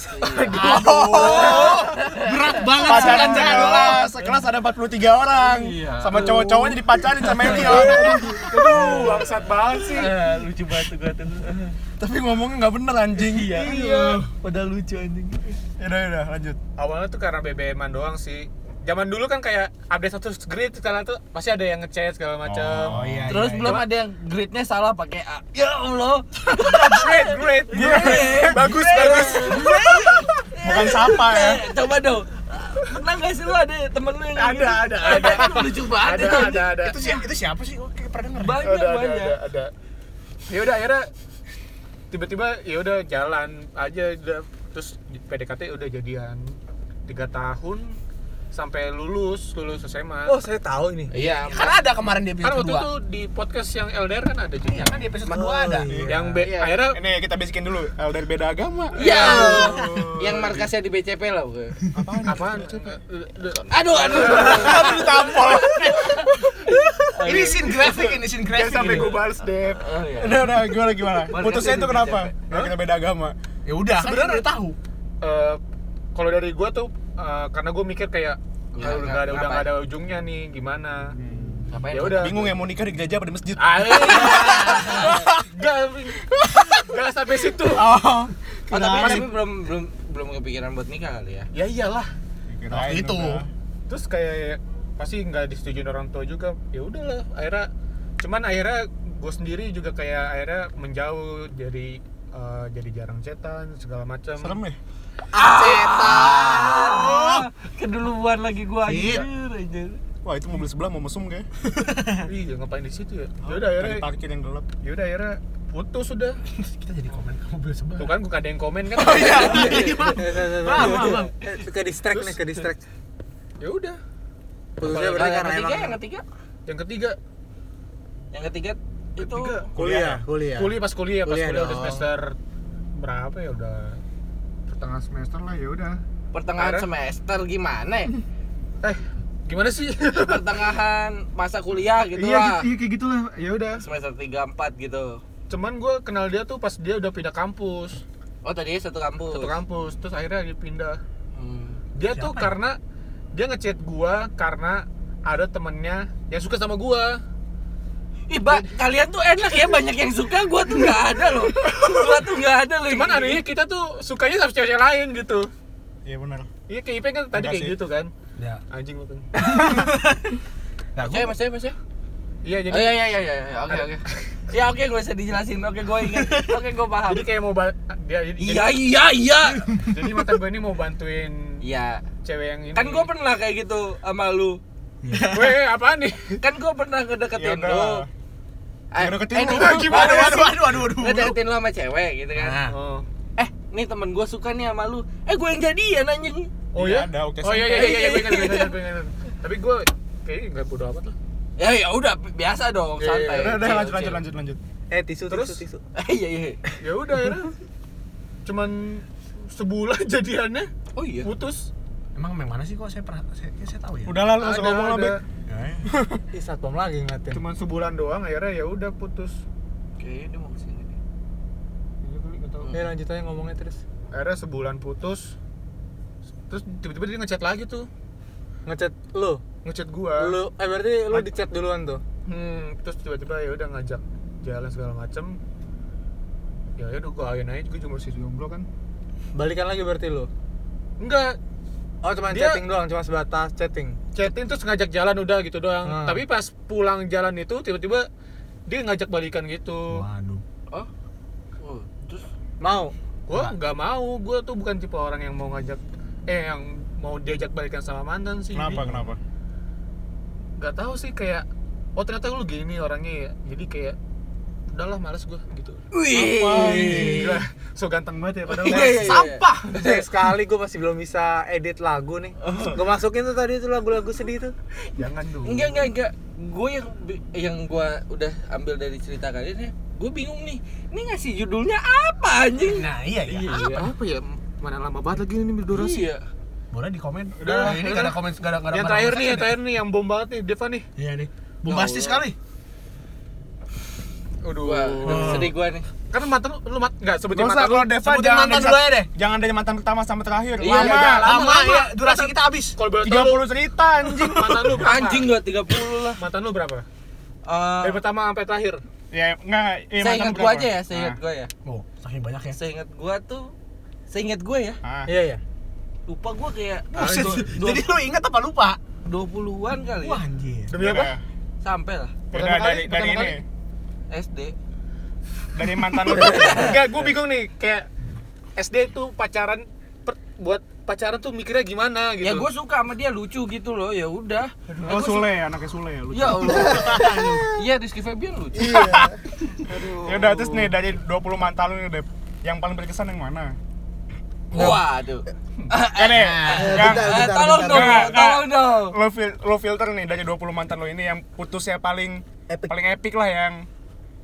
Berat banget
Pacaran
sih, Anda.
sekelas, sekelas ada 43 orang.
Iya.
Sama cowok-cowoknya dipacarin sama Elio.
aduh bangsat banget sih
lucu banget tuh gua tuh.
Tapi ngomongnya nggak bener anjing.
iya
Padahal lucu anjing.
Ya udah, ya udah, lanjut.
awalnya tuh karena BBM-an doang sih zaman dulu kan kayak update status grid sekarang tuh pasti ada yang ngechat segala macam
iya.
Terus belum ada yang grade-nya salah pakai A. Ya Allah.
great great
Grade.
bagus bagus
Bukan sapa ya.
Eh, Coba dong. Pernah gak sih lu ada temen lu yang gitu.
Ada, ada,
ada. Itu lucu banget
ada
itu.
ada ada
Itu siapa, itu siapa sih? Gue kayak pernah ya. denger.
Banyak
ada ada
banyak.
ada, ada. ya udah akhirnya tiba-tiba ya udah jalan aja udah terus PDKT udah jadian tiga tahun sampai lulus lulus SMA
Oh, saya tahu ini.
Iya.
Karena ada kemarin di
karena waktu
episode kedua.
itu kan di podcast yang LDR kan ada juga
Iya, kan di episode kedua
Oh,
ada.
iya.
yang be- akhirnya
Ini kita bisikin dulu. El dari beda agama. Iya.
Ya. Yang markasnya di BCP lah. gue.
apaan coba eh,
Aduh, aduh.
Aduh ditampol.
Ini scene grafik, ini scene grafik.
jangan sampai
ini.
gue balas deh
Oh, iya.
Udah udah gimana gimana?
Markasnya
Putusnya itu
di
kenapa?
BCP.
Karena kita beda agama.
Ya udah, kan
Sebenarnya-
udah tahu.
Eh, kalau dari gue tuh eh, karena gue mikir kayak
Ya,
Iya,
kalau
nggak-
nggak ada udah
ngapain?
nggak ada ujungnya nih gimana
Ngapain?
ya udah Ah,
Hmm.
eh.
Bingung ya mau nikah di gereja apa di masjid?
Ayo. Gak, gak sampai situ.
Oh.
Oh, tapi,
kirain.
tapi belum belum belum kepikiran buat nikah kali ya.
Ya iyalah.
Kirain
Waktu itu.
udah.
Terus kayak pasti nggak disetujuin orang tua juga. Ya udahlah. Akhirnya, cuman akhirnya gue sendiri juga kayak akhirnya menjauh dari eh, jadi jarang cetan segala macam.
Serem ya?
Ah!
Keduluan lagi gua
Shit.
anjir.
Wah itu mobil sebelah mau mesum kayak.
Iya ngapain di situ ya? Ya udah akhirnya,
Dari parkir yang gelap.
ya udah akhirnya putus sudah.
Kita jadi komen ke mobil sebelah.
Tuh kan gue ada yang komen kan.
Oh, iya.
Iya,
Bang, bang, bang.
Eh, Ke distract nih, ke distract.
Ya udah. Oh, iya,
Putusnya
Kalau
berarti
yang
karena
ketiga,
emang
yang ketiga,
Yang ketiga
yang ketiga itu
Ketiga.
Iya.
Iya.
kuliah,
Iya.
kuliah.
kuliah pas kuliah pas
Kuliah
kuliah, udah
dong.
semester berapa ya udah pertengahan semester lah ya udah
pertengahan
Parah.
semester gimana ya?
eh gimana sih
pertengahan masa kuliah gitu
iya
lah.
gitu, iya, kayak gitulah ya udah
Semester 3 4 gitu.
cuman gue kenal dia tuh pas dia udah pindah kampus
Oh tadi satu kampus.
satu kampus terus akhirnya dia pindah
Hmm.
dia tuh karena dia ngechat gua karena ada temennya yang suka sama gua
Ih, ba, kalian tuh enak ya banyak yang suka, gua tuh nggak ada loh. Gua tuh nggak ada loh.
cuman anehnya kita tuh sukanya sama cewek lain gitu
Iya benar.
iya kayak Ipeng kan tadi
Makasih.
kayak gitu kan
Ya.
anjing lu kan
Eh,
Saya, mas saya, mas saya.
iya
Oh
jadi
iya iya iya iya, iya, oke oke. Ya oke gua usah dijelasin. Oke gua ingat. Oke gua paham.
jadi kayak mau ba- dia jadi,
Iya iya iya.
jadi- jadi mantan gua ini mau bantuin
Iya.
cewek yang ini
Kan gua pernah kayak gitu sama lu.
weh apaan nih
Kan gua pernah ngedeketin
Yaudah.
lu. Eh,
Ngedeketin
eh,
lu.
nih,
Waduh, waduh, waduh, waduh, waduh.
Ngedeketin lu sama cewek gitu kan.
Nah,
oh,
Eh, nih temen gua suka nih sama lu. Eh, gua yang jadian anjing.
oh
Iya,
ya
ada waktu
oh iya iya
SMP.
iya iya gua ingat, gua ingat, gua ingat. tapi gua kayaknya nggak bodo amat lah
Ya ya udah biasa dong,
Iya,
santai.
iya,
Ya Udah, udah
Chill,
lanjut lanjut
chill.
lanjut lanjut.
eh tisu
Terus?
tisu tisu
Eh, Iya iya.
ya udah akhirnya cuman sebulan jadiannya
Oh iya.
putus
emang yang mana sih kok saya pernah saya, kayaknya saya tahu ya. Nah,
Udah lah lu nggak usah
Ada,
ngomong lah,
ada.
Bek.
Ih, satpam lagi ngeliatin.
cuman sebulan doang akhirnya ya udah putus
Kayaknya dia mau kesini deh.
Iya kali, nggak
Hmm.
tahu.
Ya lanjut aja ngomongnya terus.
akhirnya sebulan putus terus tiba-tiba dia ngechat lagi tuh
Ngechat lu.
ngechat gua
Lu eh berarti lu di chat duluan tuh.
Hmm, terus tiba-tiba ya udah ngajak jalan segala macem ya ya udah gua ayoin aja gua cuma masih jomblo kan
Balikan lagi berarti lu.
enggak
Oh, cuma
Dia-
chatting doang, cuma sebatas chatting.
chatting terus ngajak jalan udah gitu doang
Hmm.
tapi pas pulang jalan itu tiba-tiba dia ngajak balikan gitu
Waduh.
Oh. Oh, terus
Mau.
gua nggak mau gua tuh bukan tipe orang yang mau ngajak eh yang mau diajak balikan sama mantan sih
Kenapa kenapa?
nggak tahu sih kayak oh ternyata lu gini orangnya ya jadi kayak udahlah males gua gitu
Wih.
Oh, iya,
Gila, so ganteng banget ya padahal
Sampah.
Sayang sekali gue masih belum bisa edit lagu nih. Gue masukin tuh tadi tuh lagu-lagu sedih tuh.
jangan dong
Enggak enggak enggak. Gue yang bi- yang gue udah ambil dari cerita kalian ya. Gue bingung nih. Ini ngasih judulnya apa anjing?
Nah, iya ya.
Iya, apa, apa ya mana lama banget lagi ini durasi
Iya.
Boleh di komen. Nah,
Udah,
ini
udah.
gak ada komen, gak ada gak ada
yang
mana-mana
terakhir nih
saja
yang
deh.
terakhir nih yang bom banget nih Deva nih
Iya nih.
Ya
Bombastis sekali.
Aduh,
Gua sedih gue nih.
kan mantan lu- lu mat nggak sebutin
Gak usah
mantan lu
kalau Deva
sebutin
jangan
mantan
dari
dulu
sat-
aja deh.
Jangan dari mantan pertama sampai terakhir.
Iya,
Lama.
iya,
Lama ya, durasi kita habis.
kalau boleh tahu
30 cerita anjing.
mantan lu berapa
ya, Anjing gue 30 lah.
mantan lu berapa
Eh,
dari pertama sampai terakhir
Ya enggak, eh
saya
mantan
ingat gue
berapa?
aja ya, saya ingat
Ah.
gue ya.
Oh, saking banyak ya.
Saya ingat gue tuh saya ingat gue ya.
Ah.
Iya, iya.
Lupa gue kayak
Buset,
dua-
Jadi lu ingat apa lupa?
20-an kali
Wah
ya.
anjir.
demi apa
Sampai lah
Udah dari dari
pertama
ini.
kali.
SD.
Dari mantan lu.
nggak gue bingung nih kayak SD tuh pacaran per- buat pacaran tuh mikirnya gimana gitu
Ya gue suka sama dia lucu gitu loh. Ya udah.
Oh Sule, anaknya Sule ya lu.
Ya Allah. Iya Rizky Febian lucu.
Ya udah terus nih dari 20 mantan lu nih Dep. Yang paling berkesan yang mana?
Waduh.
Ya nih, yang
Eh, tolong dong,
Enggak, enggak.
tolong dong.
lo, fil- lo filter nih dari 20 mantan lo ini yang putusnya paling
Epic.
paling epic lah yang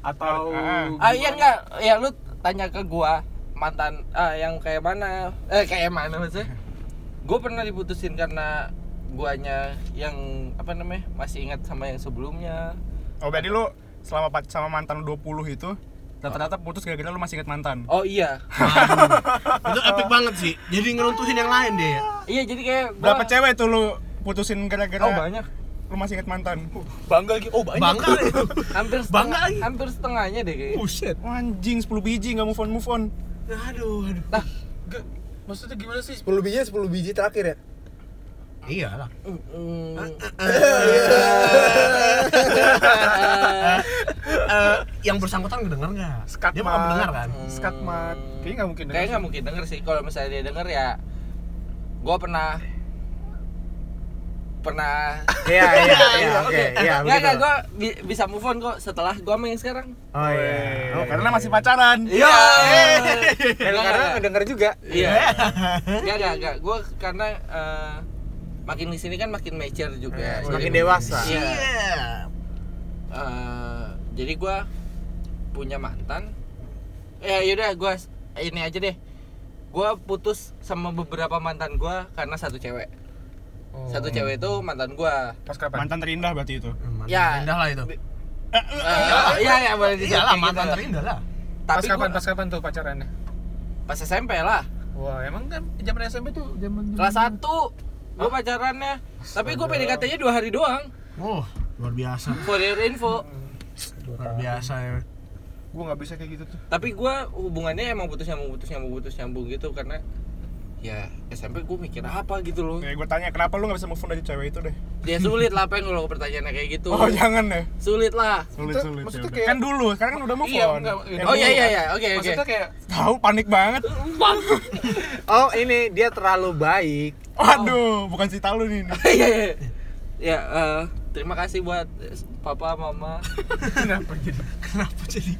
atau
Ah.
Ah iya enggak, ya lu tanya ke gua mantan ah, yang kayak mana? Eh kayak mana maksudnya? Gua pernah diputusin karena guanya yang apa namanya? masih ingat sama yang sebelumnya.
oh berarti lo selama pac- sama mantan lo 20 itu rata-rata putus gara-gara lo masih inget mantan
Oh iya.
Itu epic banget sih. Jadi ngeruntuhin yang lain deh.
iya jadi kayak gua
berapa cewek tuh lo putusin gara-gara
Oh banyak.
lo masih inget mantan
bangga gitu oh banyak
Bangga deh.
Hampir
Bangga
setengah,
lagi.
hampir setengahnya deh kayaknya.
Buset.
Wah, anjing 10 biji nggak move on move on
Aduh, aduh.
Nggak, maksudnya gimana sih
10 bijinya 10 biji terakhir ya
Iyalah.
Mm, mm.
Uh.
Eh, yang bersangkutan ngedenger nggak?
Skat
Dia
Mat.
bakal mendengar kan?
skatmat kayaknya nggak mungkin
Kayaknya nggak mungkin denger sih kalau misalnya dia denger ya gua pernah pernah
iya iya iya oke iya
Nggak, nggak,
begitu.
gue bisa move on kok setelah gue main sekarang
oh iya
oh, karena masih pacaran
Iya
Dan Eh, karena ngedenger juga.
Iya Nggak, nggak, nggak Gue karena eh, makin di sini kan makin mature juga
semakin
Jadi-
dewasa
Iya
Iya.
Eh, Jadi gue punya mantan Ya yaudah, gue ini aja deh Gue putus sama beberapa mantan gue karena satu cewek Satu
Hmm.
cewek itu mantan gue
pas kapan
mantan terindah berarti itu
Mantan
Ya.
terindah lah itu.
Iya, iya boleh
Iyalah,
disebutin
mantan
gitu.
terindah lah.
pas
Tapi
kapan
gua-
pas kapan tuh pacarannya
pas SMP lah
Wah, emang kan zaman SMP tuh zaman
kelas 1 gue pacarannya tapi gue PDKT-nya dua hari doang
Oh, luar biasa.
for your info
Luar biasa ya.
Gue nggak bisa kayak gitu tuh.
tapi gue hubungannya emang putus nyambung putus nyambung putus nyambung gitu karena ya SMP gue mikir apa gitu loh
Ya, gue tanya kenapa lu nggak bisa move on dari cewek itu deh?
ya sulit lah pengen kalau pertanyaannya kayak gitu
Oh jangan deh.
sulit lah
Sulit
Itu
sulit.
maksudnya
ya udah.
kayak-
Kan dulu, sekarang kan udah move
Iya,
on.
enggak, iya.
oh iya iya
kan?
iya oke oke
Maksudnya kayak
Tahu panik banget.
Oh ini dia terlalu baik.
Waduh, bukan cerita lu nih. nih.
iya iya ya eh, terima kasih buat eh, papa mama
Kenapa jadi?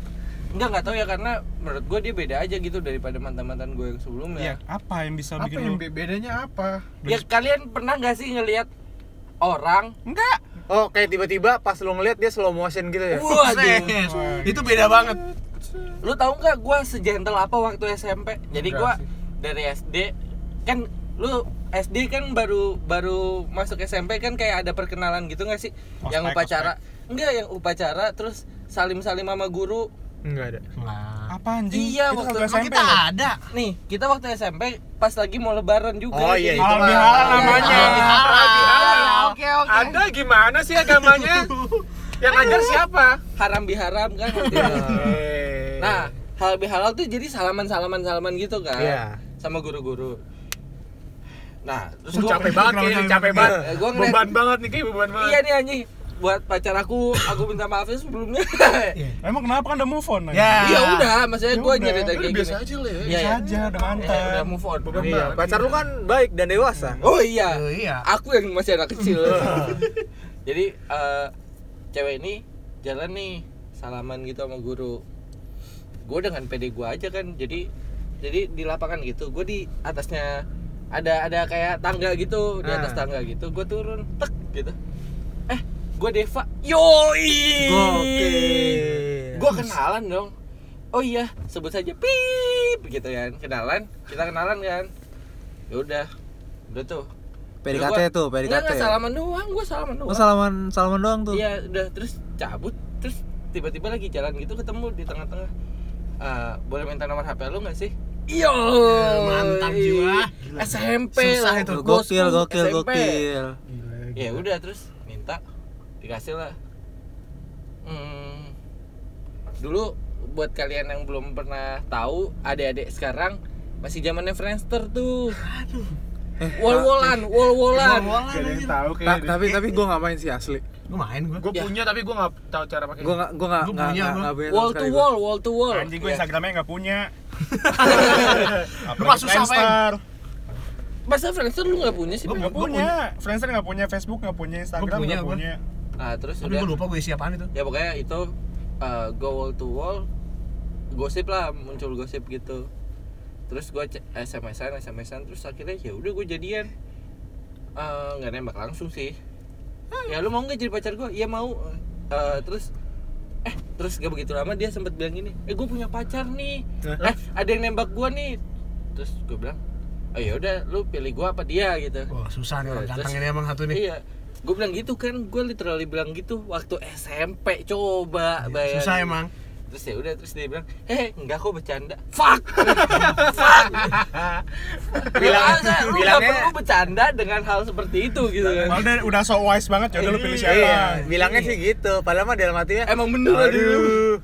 enggak nggak tahu ya karena menurut gue dia beda aja gitu daripada mantan mantan gue yang
Iya,
sebelumnya
apa yang bisa
apa
bikin
yang
lu?
be- bedanya apa?
ya kalian pernah nggak sih ngelihat orang
Enggak.
Oh kayak tiba-tiba pas lu ngeliat dia slow motion gitu ya.
Eh, waduh
Itu beda banget.
lu tahu nggak gue sejentel apa waktu SMP jadi gue dari SD kan lu SD kan baru baru masuk SMP kan kayak ada perkenalan gitu nggak sih
Ospek,
yang upacara enggak yang upacara terus salim salim sama guru
Enggak ada.
Apa anjing?
Iya,
itu
waktu
kagak
itu
SMP.
Kita
loh.
ada.
nih kita waktu SMP pas lagi mau lebaran juga
Oh iya
jadi-
itu
Halal
mah.
bihalal namanya.
Ah.
Ah, ya,
Oke, oke.
Ada gimana sih agamanya? yang ngajar siapa?
haram biharam kan waktu itu. nah hal bihalal tuh jadi salaman salaman salaman gitu kan
Iya.
sama guru-guru nah terus
Terus
gue
capek banget kayaknya, capek banget.
Eh, Gua ngeliat-
Beban banget nih, kayak beban banget.
iya nih anjing buat pacar aku aku minta maaf ya sebelumnya
Emang kenapa kan udah move on? anjing?
Ya.
ya udah maksudnya
Ya
gue
udah,
nyeritain
Udah
kayak
biasa
gini
aja lah ya.
Iya,
Biasa aja, udah
ya, udah
mantan.
move on
Beban
Iya,
banget.
pacar lu kan baik dan dewasa.
oh iya
Oh, Iya.
aku yang masih anak kecil jadi eh, cewek ini jalan nih salaman gitu sama guru gue dengan pede gue aja kan jadi jadi di lapangan gitu gue di atasnya ada ada kayak tangga gitu di atas tangga gitu gue turun tek gitu eh gue Deva yoi
Oke.
gue kenalan dong oh iya sebut saja pip gitu kan kenalan kita kenalan kan ya udah udah tuh
PDKT
Udah gua-
tuh,
Enggak,
PDKT.
enggak salaman doang, gua salaman doang.
Lu Oh,
Oh,
salaman salaman doang tuh.
Iya, udah terus cabut, terus tiba-tiba lagi jalan gitu ketemu di tengah-tengah. Eh, boleh minta nomor HP lu nggak sih? Iya,
mantap jiwa.
SMP
Susah
lah
itu.
Lu
bosku,
gokil, gokil,
SMP.
gokil.
Ya udah terus minta dikasih lah. Hmm, dulu buat kalian yang belum pernah tahu, adik-adik sekarang masih zamannya Friendster tuh.
Ah,
Wall-wallan, wall-wallan.
Wall-wallan
Gak ada yang
anjir.
tahu
Eh, Ta-
kayaknya.
tapi tapi gua nggak main sih asli.
Gue main gue.
Gue
Ya.
punya tapi gue nggak tahu cara pakai.
Gua nggak gua nggak
Gua
nggak
punya,
nggak-
gua.
nggak punya sama
wall to
sekali gua.
wall, wall to wall.
Anjing gue
Iya.
Instagramnya nggak punya.
Lu nggak
Apalagi
susah, Peng.
Friendster.
Masa Friendster lu gak punya sih?
Gua
Bang?
Nggak
Gua
punya. Friendster nggak punya, Facebook nggak punya, Instagram
punya,
nggak
gua.
punya.
Nah terus
Tapi
udah
gue lupa gue isi apaan itu.
Ya pokoknya itu eh, Go wall to wall Gosip lah muncul gosip gitu Terus gue SMS-an, SMS-an Terus akhirnya ya udah gue jadian Eh, nggak nembak langsung sih Ya lu mau gak jadi pacar gue? Iya mau Eh, Terus Eh terus gak begitu lama dia sempet bilang gini Eh gue punya pacar nih Eh ada yang nembak gue nih Terus gue bilang Oh ya udah lu pilih gue apa dia gitu
Wah susah nih orang
Terus-
ganteng ini emang satu nih.
Iya. Gue bilang gitu kan, gue literally bilang gitu waktu SMP coba bayangin.
Iya, Susah emang.
Terus ya udah terus dia bilang, "Eh, enggak kok bercanda." Fuck. bilang aja lu nggak
bilangnya-
perlu bercanda dengan hal seperti itu gitu kan.
Padahal udah, udah so wise banget ya udah lu pilih siapa.
Iya, bilangnya sih gitu. Padahal mah dalam hatinya
Emang bener aduh.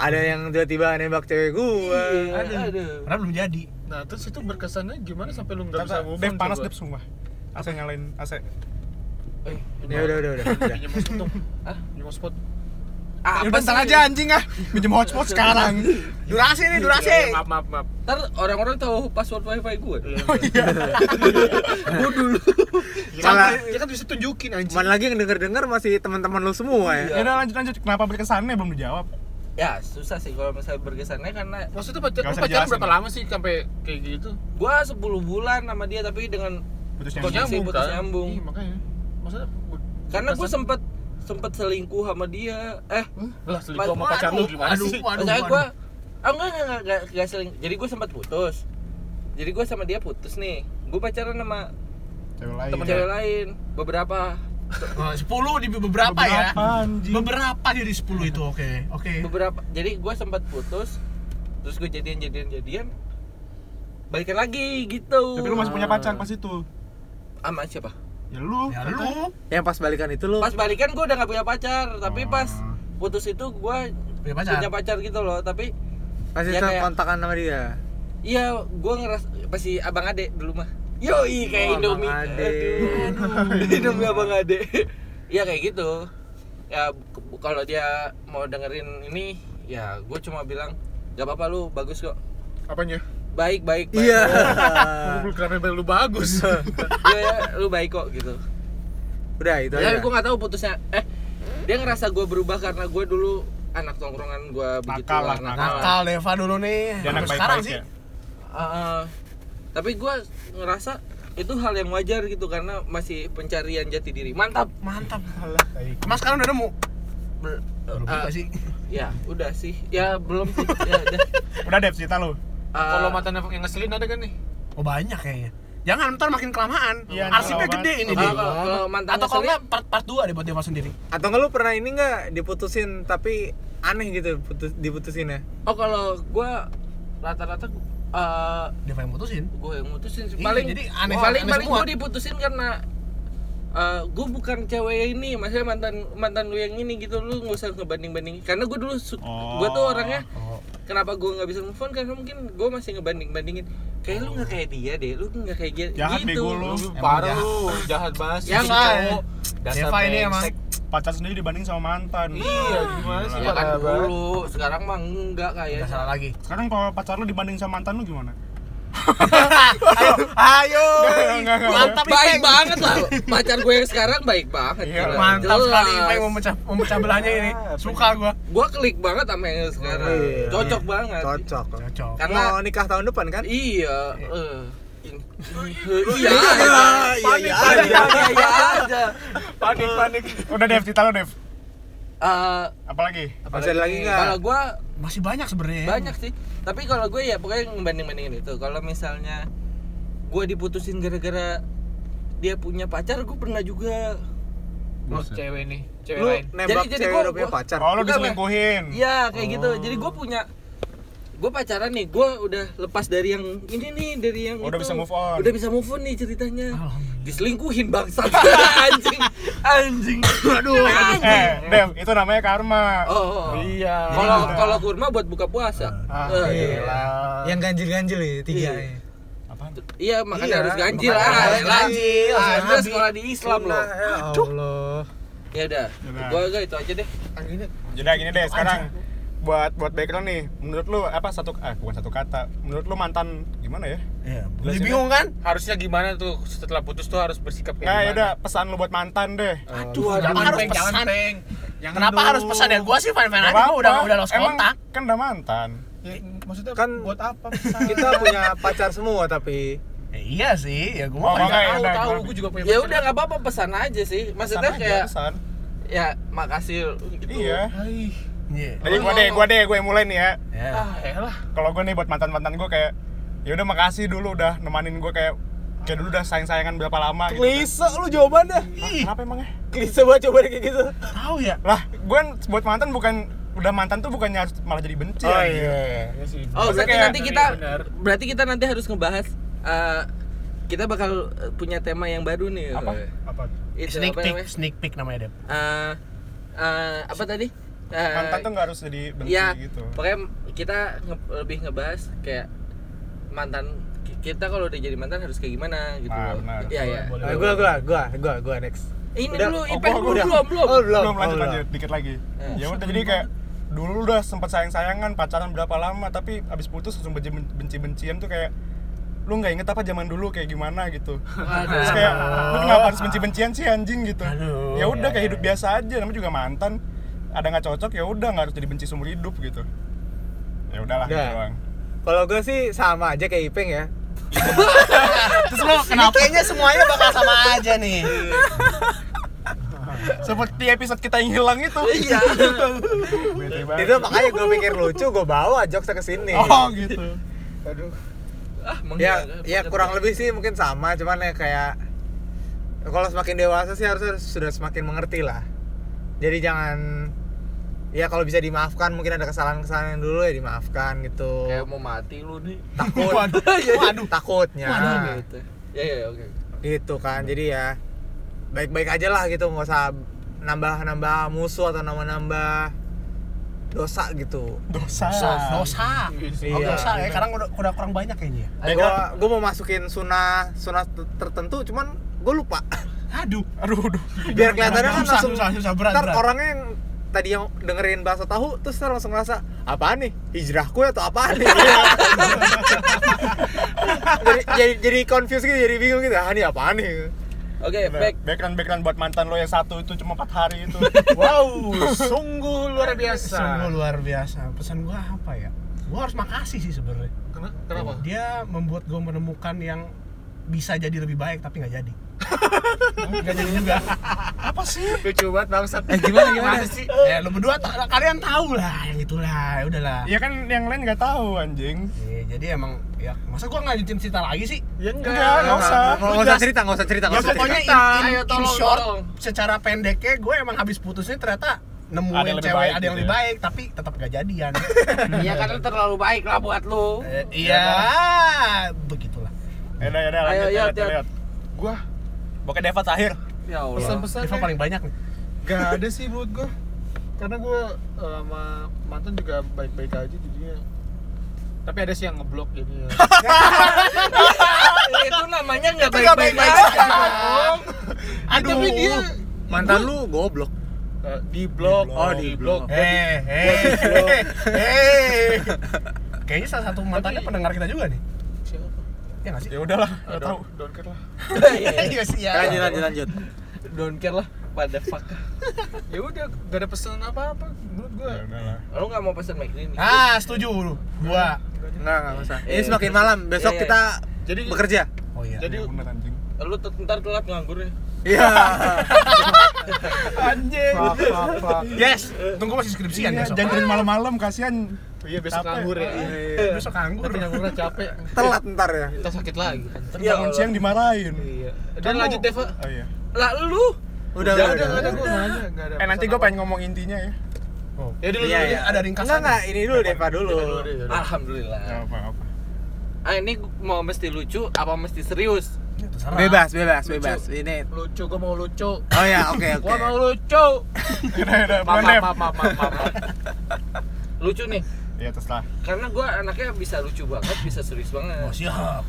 Ada yang tiba-tiba nembak cewek gua.
Aduh. Iya, aduh.
Karena belum jadi.
Nah terus itu berkesannya gimana sampai lu nggak bisa
Kata,
move on?
Dev panas
coba?
Dev sumpah. AC nyalain AC.
Eh,
Ya udah udah udah. udah.
Pinjam hotspot dong.
Hah?
Pinjam hotspot.
Ya
apa
udah
sih?
ntar aja anjing ah. Minjem hotspot sekarang.
Durasi nih, durasi.
Ya, ya, Maaf maaf maaf.
Ntar orang-orang tahu password wifi gue.
Iya.
Malah
Dia kan bisa tunjukin anjing.
mana lagi yang denger-denger masih teman-teman lu semua ya.
Ya udah lanjut lanjut. Kenapa berkesannya belum dijawab?
Iya. Ya susah sih kalau misalnya berkesannya karena
Maksudnya pacar,
Nggak
lu
usah
pacaran
dijelasin.
berapa lama sih sampai kayak gitu?
gue 10 bulan sama dia tapi dengan
Putus
Putus
nyambung.
nyambung
nyambung, putus
kan?
nyambung.
Iya, makanya. Maksudnya
karena gue
berkesan-
sempet sempet selingkuh sama dia eh
lah selingkuh sama
Waduh,
pacar lu gimana
aduh,
sih?
waduh,
saya
waduh.
gue ah enggak enggak enggak, enggak, enggak seling jadi gue sempat putus jadi gue sama dia putus nih gue pacaran sama
Cewek
Ah,
lain.
iya.
cewek lain beberapa
Oh, 10 di beberapa, ya.
Beberapa, anjing.
Beberapa jadi 10 itu oke. Oke.
beberapa jadi gue sempat putus terus gue jadian jadian jadian balikan lagi gitu
Tapi lu masih punya pacar pas itu.
sama siapa
Ya lu.
Ya lu
Yang pas balikan itu lu
pas balikan gue udah nggak punya pacar tapi pas putus itu gue
Ah. punya pacar.
punya pacar gitu loh tapi
masih
ya kayak-
kontakan sama dia.
iya gue ngeras pasti abang ade dulu mah yoi kayak
Oh,
indomie
Abang Ade.
Aduh, indomie abang ade ya kayak gitu ya ke- kalau dia mau dengerin ini ya gue cuma bilang gak apa-apa lu bagus kok
Apanya?
baik baik baik.
Iya.
Eh.
Lu kenapa lu bagus?
Iya, ya, lu baik kok gitu
Udah itu
Tapi
aja.
gue gak tahu putusnya. Eh, dia ngerasa gue berubah karena gue dulu anak tongkrongan gue begitu
Nakal lah,
Nakal Deva dulu nih.
Dia anak
Sampai sekarang
baik-baik
sih.
ya.
tapi gue ngerasa itu hal yang wajar gitu karena masih pencarian jati diri. Mantap.
Mantap. Mas sekarang udah nemu.
Bel-
Belum
eh,
juga sih.
Ya, udah sih. Ya belum sih. Ya, udah.
Udah deh cerita lu.
Eh,
Kalau mantan yang ngeselin ada kan nih?
Oh banyak kayaknya. Jangan ntar makin kelamaan.
Iya,
Arsipnya
kelamaan.
gede ini
kalau-
deh.
kalau mantan
Atau kalau
ngeselin,
nggak part part 2 deh buat Deva sendiri.
Atau enggak lu pernah ini enggak diputusin tapi aneh gitu putus diputusinnya?
oh kalau gue rata-rata eh
Deva yang mutusin.
gue yang mutusin sih
Iya,
paling
jadi aneh-
paling
aneh
paling
semua.
gue diputusin karena gue bukan cewek ini maksudnya mantan mantan lu yang ini gitu lu nggak usah ngebanding bandingin karena gue dulu su-
Oh.
gue tuh orangnya kenapa gue nggak bisa move on karena mungkin gue masih ngebanding bandingin kayak lu nggak kayak dia deh lu nggak kayak dia
Jahat
gitu
bego lu.
Parah lu, jahat banget sih.
Ya,
Si
Pak.
cowok. Dasar
Deva ini emang.
brengsek.
Pacar sendiri dibanding sama mantan.
Iya, gimana sih?
ya kan
Parah banget.
dulu sekarang mah enggak kayak
Nggak salah lagi.
Sekarang kalau pacar lu dibanding sama mantan lu gimana?
Ayo.
Enggak, enggak.
Mantap
baik
Ipeng.
banget lah pacar gue yang sekarang baik banget
Iya,
gila.
Mantap sekali
Jelas.
Ipeng memecah memecah belahnya ini. Suka gua.
gue klik banget sama yang sekarang
Iya.
cocok banget
Cocok.
Cocok.
karena
Mau nikah tahun depan kan?
Iya. eh, in- Iya.
iya
Iya iya aja.
Panik, panik.
Udah Dev, cerita lu Dev.
Eh,
Apalagi?
Masih ada lagi nggak?
Kalau gua
Masih banyak sebenarnya. ya.
banyak sih. Tapi kalau gue ya pokoknya ngebanding-bandingin itu. Kalau misalnya gua diputusin gara-gara dia punya pacar, gue pernah juga.
Oh, cewek nih, cewek
Lu
lain.
nembak
Jadi- jadi
cewek
gua-
udah punya
gua-
pacar.
Oh
Bukan,
lu diselingkuhin.
Iya, kayak gitu. Jadi gue punya gue pacaran nih, gue udah lepas dari yang ini nih, dari yang
Udah
itu.
bisa move on.
Udah bisa move on nih ceritanya. Diselingkuhin bangsat anjing. Anjing. Aduh.
Eh, Dev, itu namanya karma.
Oh, oh.
Iya.
Kalau kalau kurma buat buka puasa.
Ah,
Eh,
iya.
gila.
Yang ganjil-ganjil ya, tiga.
Iya.
ya.
Apaan?
Iya, makanya
Iya,
harus ganjil
makanya
lah.
harus ganjil,
Ah,
harus
gua sekolah di Islam loh.
Iya.
Nah, ya Allah.
Ya udah.
Udah.
Gua gua itu aja deh.
Oh,
Jadi gini deh, sekarang buat buat background nih, menurut lu apa satu ah bukan satu kata, menurut lu mantan gimana ya?
Iya.
Jelasin
Jadi bingung kan?
Harusnya gimana tuh setelah putus tuh harus bersikap kayak
Nah,
gimana?
ya udah pesan lu buat mantan deh.
Aduh, kenapa harus pesan? Kenapa
dong.
harus pesan ya? Gua sih fan-fan aja,
Gak
gua udah
apa-apa.
udah lost
Emang
kontak.
Kan udah mantan.
Ya,
maksudnya
Kan
buat
Oh,
apa?
kita punya pacar semua tapi
Ya, iya sih, ya
Oh,
gua mau
enggak,
tanya.
ya udah,
Tahu,
gimana?
gue juga punya
Ya
pacar.
udah nggak apa-apa pesan aja sih.
Pesan
Maksudnya
aja,
kayak
pesan.
ya makasih gitu.
Iya.
Iya.
Jadi gua deh, gua deh, gua yang mulai nih ya.
Ya.
Ah, elah.
Kalau gua nih buat mantan-mantan gua kayak ya udah makasih dulu udah nemanin gua kayak kayak dulu udah sayang-sayangan berapa lama gitu.
klise lu jawabannya.
Hah, Kenapa emangnya?
Klise banget coba kayak gitu.
Tahu ya?
Lah, gua buat mantan bukan udah mantan tuh bukannya harus malah jadi benci.
Oh
anjing.
iya.
Iya sih.
Oh,
Maksudnya
berarti
kayak-
nanti kita
Iya, benar.
berarti kita nanti harus ngebahas eh, kita bakal eh, punya tema yang baru nih.
Apa? Apa?
Itu
Sneak
apa
peek,
namanya?
sneak peek namanya, Dep.
Eh, eh, apa tadi? Eh,
Mantan tuh nggak harus jadi benci
Iya,
gitu.
pokoknya kita nge- lebih ngebahas kayak mantan ki- kita kalau udah jadi mantan harus kayak gimana gitu
Ah,
loh.
benar.
Iya, iya.
Nah, gua gua gua gua gua next.
Ini
Udah.
dulu,
Oh,
Ipeng
gua-
dulu,
gua
belum, belum.
Oh, belum.
belum lanjut
oh,
lanjut dikit lagi
Eh.
ya udah jadi kayak dulu udah sempat sayang sayangan pacaran berapa lama tapi abis putus langsung benci bencian tuh kayak lu nggak inget apa zaman dulu kayak gimana gitu terus kayak lu kenapa harus benci bencian sih anjing gitu
Aduh.
ya udah kayak hidup biasa aja namanya juga mantan ada nggak cocok ya udah nggak harus jadi benci seumur hidup gitu ya udahlah gitu
Udah.
doang
Kalau gua sih sama aja kayak Ipeng ya.
Terus lo kenapa? Kayaknya semuanya bakal sama aja nih.
seperti episode kita yang hilang itu
Iya.
Bete banget.
Eh.
Itu makanya gua pikir lucu, gua bawa jokes ke sini.
oh gitu
ya
Ah, menghilangkan
iya,
ya
pekerjaan.
kurang lebih sih mungkin sama cuman ya kayak kalau semakin dewasa sih harusnya sudah semakin mengerti lah jadi jangan
ya kalau bisa dimaafkan mungkin ada kesalahan-kesalahan yang dulu ya dimaafkan gitu
kayak mau mati lu nih
takut takutnya
gitu ya ya ya, oke
gitu kan jadi ya baik-baik aja lah gitu nggak usah nambah-nambah musuh atau nambah-nambah dosa gitu
dosa
dosa dosa oh,
Iya.
dosa ya sekarang udah, udah kurang banyak kayaknya ya.
Eh, gua, gua mau masukin sunah sunah ter- tertentu cuman gue lupa
aduh
aduh aduh
biar kelihatannya kan
susah,
langsung
susah, susah, berat,
ntar
berat.
orangnya yang tadi yang dengerin bahasa tahu terus ntar langsung ngerasa apaan nih hijrahku atau apaan nih jadi, jadi jadi confused gitu jadi bingung gitu ah ini apaan nih
oke back
Back- background background buat mantan lo yang satu itu cuma 4 hari itu
Wow, sungguh luar biasa.
sungguh luar biasa pesan gua apa ya gua harus makasih sih sebenarnya
iya. Kena- Kenapa?
dia membuat gua menemukan yang bisa jadi lebih baik tapi nggak jadi nggak jadi juga
Lucu banget bangsat.
eh gimana gimana
sih?
ya lu berdua ta- kalian tahu lah yang itulah ya udahlah
ya kan yang lain nggak tahu anjing
Ya, jadi emang ya masa gua lanjutin cerita lagi sih
Ya enggak.
Enggak, nggak usah.
nggak usah cerita nggak usah cerita
ya
nggak usah cerita
pokoknya in,
cerita.
in-
Ayo,
in
tolong,
short
tolong.
secara pendeknya gue emang habis putusnya ternyata nemuin
Ada yang lebih
cewek
baik
ada yang
gitu
lebih
ya.
baik tapi tetap gak jadian
iya kan lu terlalu baik lah buat lu
Eh, iya begitulah
ya udah ya udah
Ayo,
lanjut
Yot,
lanjut
Yot.
lanjut gua pokoknya Deva terakhir
ya allah
Pesan-pesan
Deva paling banyak nih
Gak ada sih buat gue Karena gue eh, sama mantan juga baik-baik aja jadinya Tapi ada sih yang ngeblok jadinya
itu namanya nggak baik baik aja
aduh
Tapi dia
mantan lu goblok
eh, di blok,
Oh,
di
diblok.
blok
eh eh eh, eh kayaknya salah satu mantannya
Tapi-
pendengar kita juga nih
Siapa?
ya nggak sih
ya udahlah
Ah,
nggak tahu
don't, don't care lah
iya sih ya
lanjut lanjut lanjut
don't care lah pada fuck
Ya udah, gak ada pesan apa-apa menurut gue
ya udahlah
lu nggak mau pesan mic ini
ah setuju lu gua
nggak nggak usah
Eh,
ini semakin malam besok
iya, iya.
kita
Jadi
bekerja
oh iya
jadi
jadi Ya, bener anjing
lu tuh ntar telat nganggur ya
iya
Iya,
anjing
yes tunggu masih skripsian
Iya,
besok
jangan terlalu malam-malam kasihan
iya besok
Capek.
nganggur ya iya.
besok anggur
Tapi nganggur capek
telat ntar ya
Kita sakit lagi kan
Ntar
Ya
bangun
Allah.
siang dimarahin
Iya Dan lanjut Deva
oh iya
lah lu
udah
Udah, udah, udah, Iya. gue nanya Gak ada
eh nanti
pesan
gua
apa.
pengen ngomong intinya ya
Ya dulu,
Iya,
dulu,
iya.
dulu.
ada
enggak
ringkasan
enggak ini dulu Deva dulu Ah.
Dulu, dulu, dulu.
nggak
alhamdulillah
apa-apa
ah ini mau mesti lucu apa mesti serius
Ya, terserah.
bebas bebas bebas ini
Lucu, gue mau lucu
oh ya oke oke
Gue mau lucu
udah udah
Maaf,
bukan
maaf,
Dev
maaf, maaf, maaf, maaf.
lucu nih
ya terserah
karena gue anaknya bisa lucu banget bisa serius
Oh,
banget
siap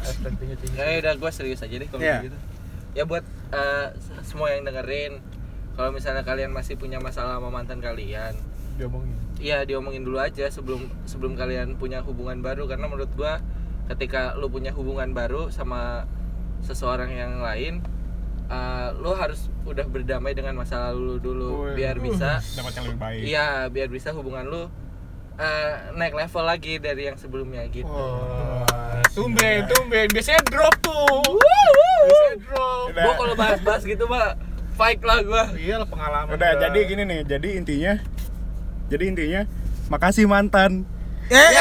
Ekspektasinya tinggi.
Eh.
ya udah gue serius aja deh kalau
Iya.
gitu ya buat eh, semua yang dengerin kalau misalnya kalian masih punya masalah sama mantan kalian
diomongin
Iya diomongin dulu aja sebelum sebelum kalian punya hubungan baru karena menurut gua ketika lu punya hubungan baru sama seseorang yang lain uh, lu harus udah berdamai dengan masa lalu lu dulu biar bisa
dapat yang lebih baik
iya biar bisa hubungan lu uh, naik level lagi dari yang sebelumnya gitu.
Oh. tumben tumben biasanya drop tuh biasanya drop
Udah.
Gua kalau bahas-bahas gitu mah fight lah gua.
iyalah Iya pengalaman
Udah,
gua.
jadi gini nih. Jadi intinya jadi intinya makasih mantan.
Eh,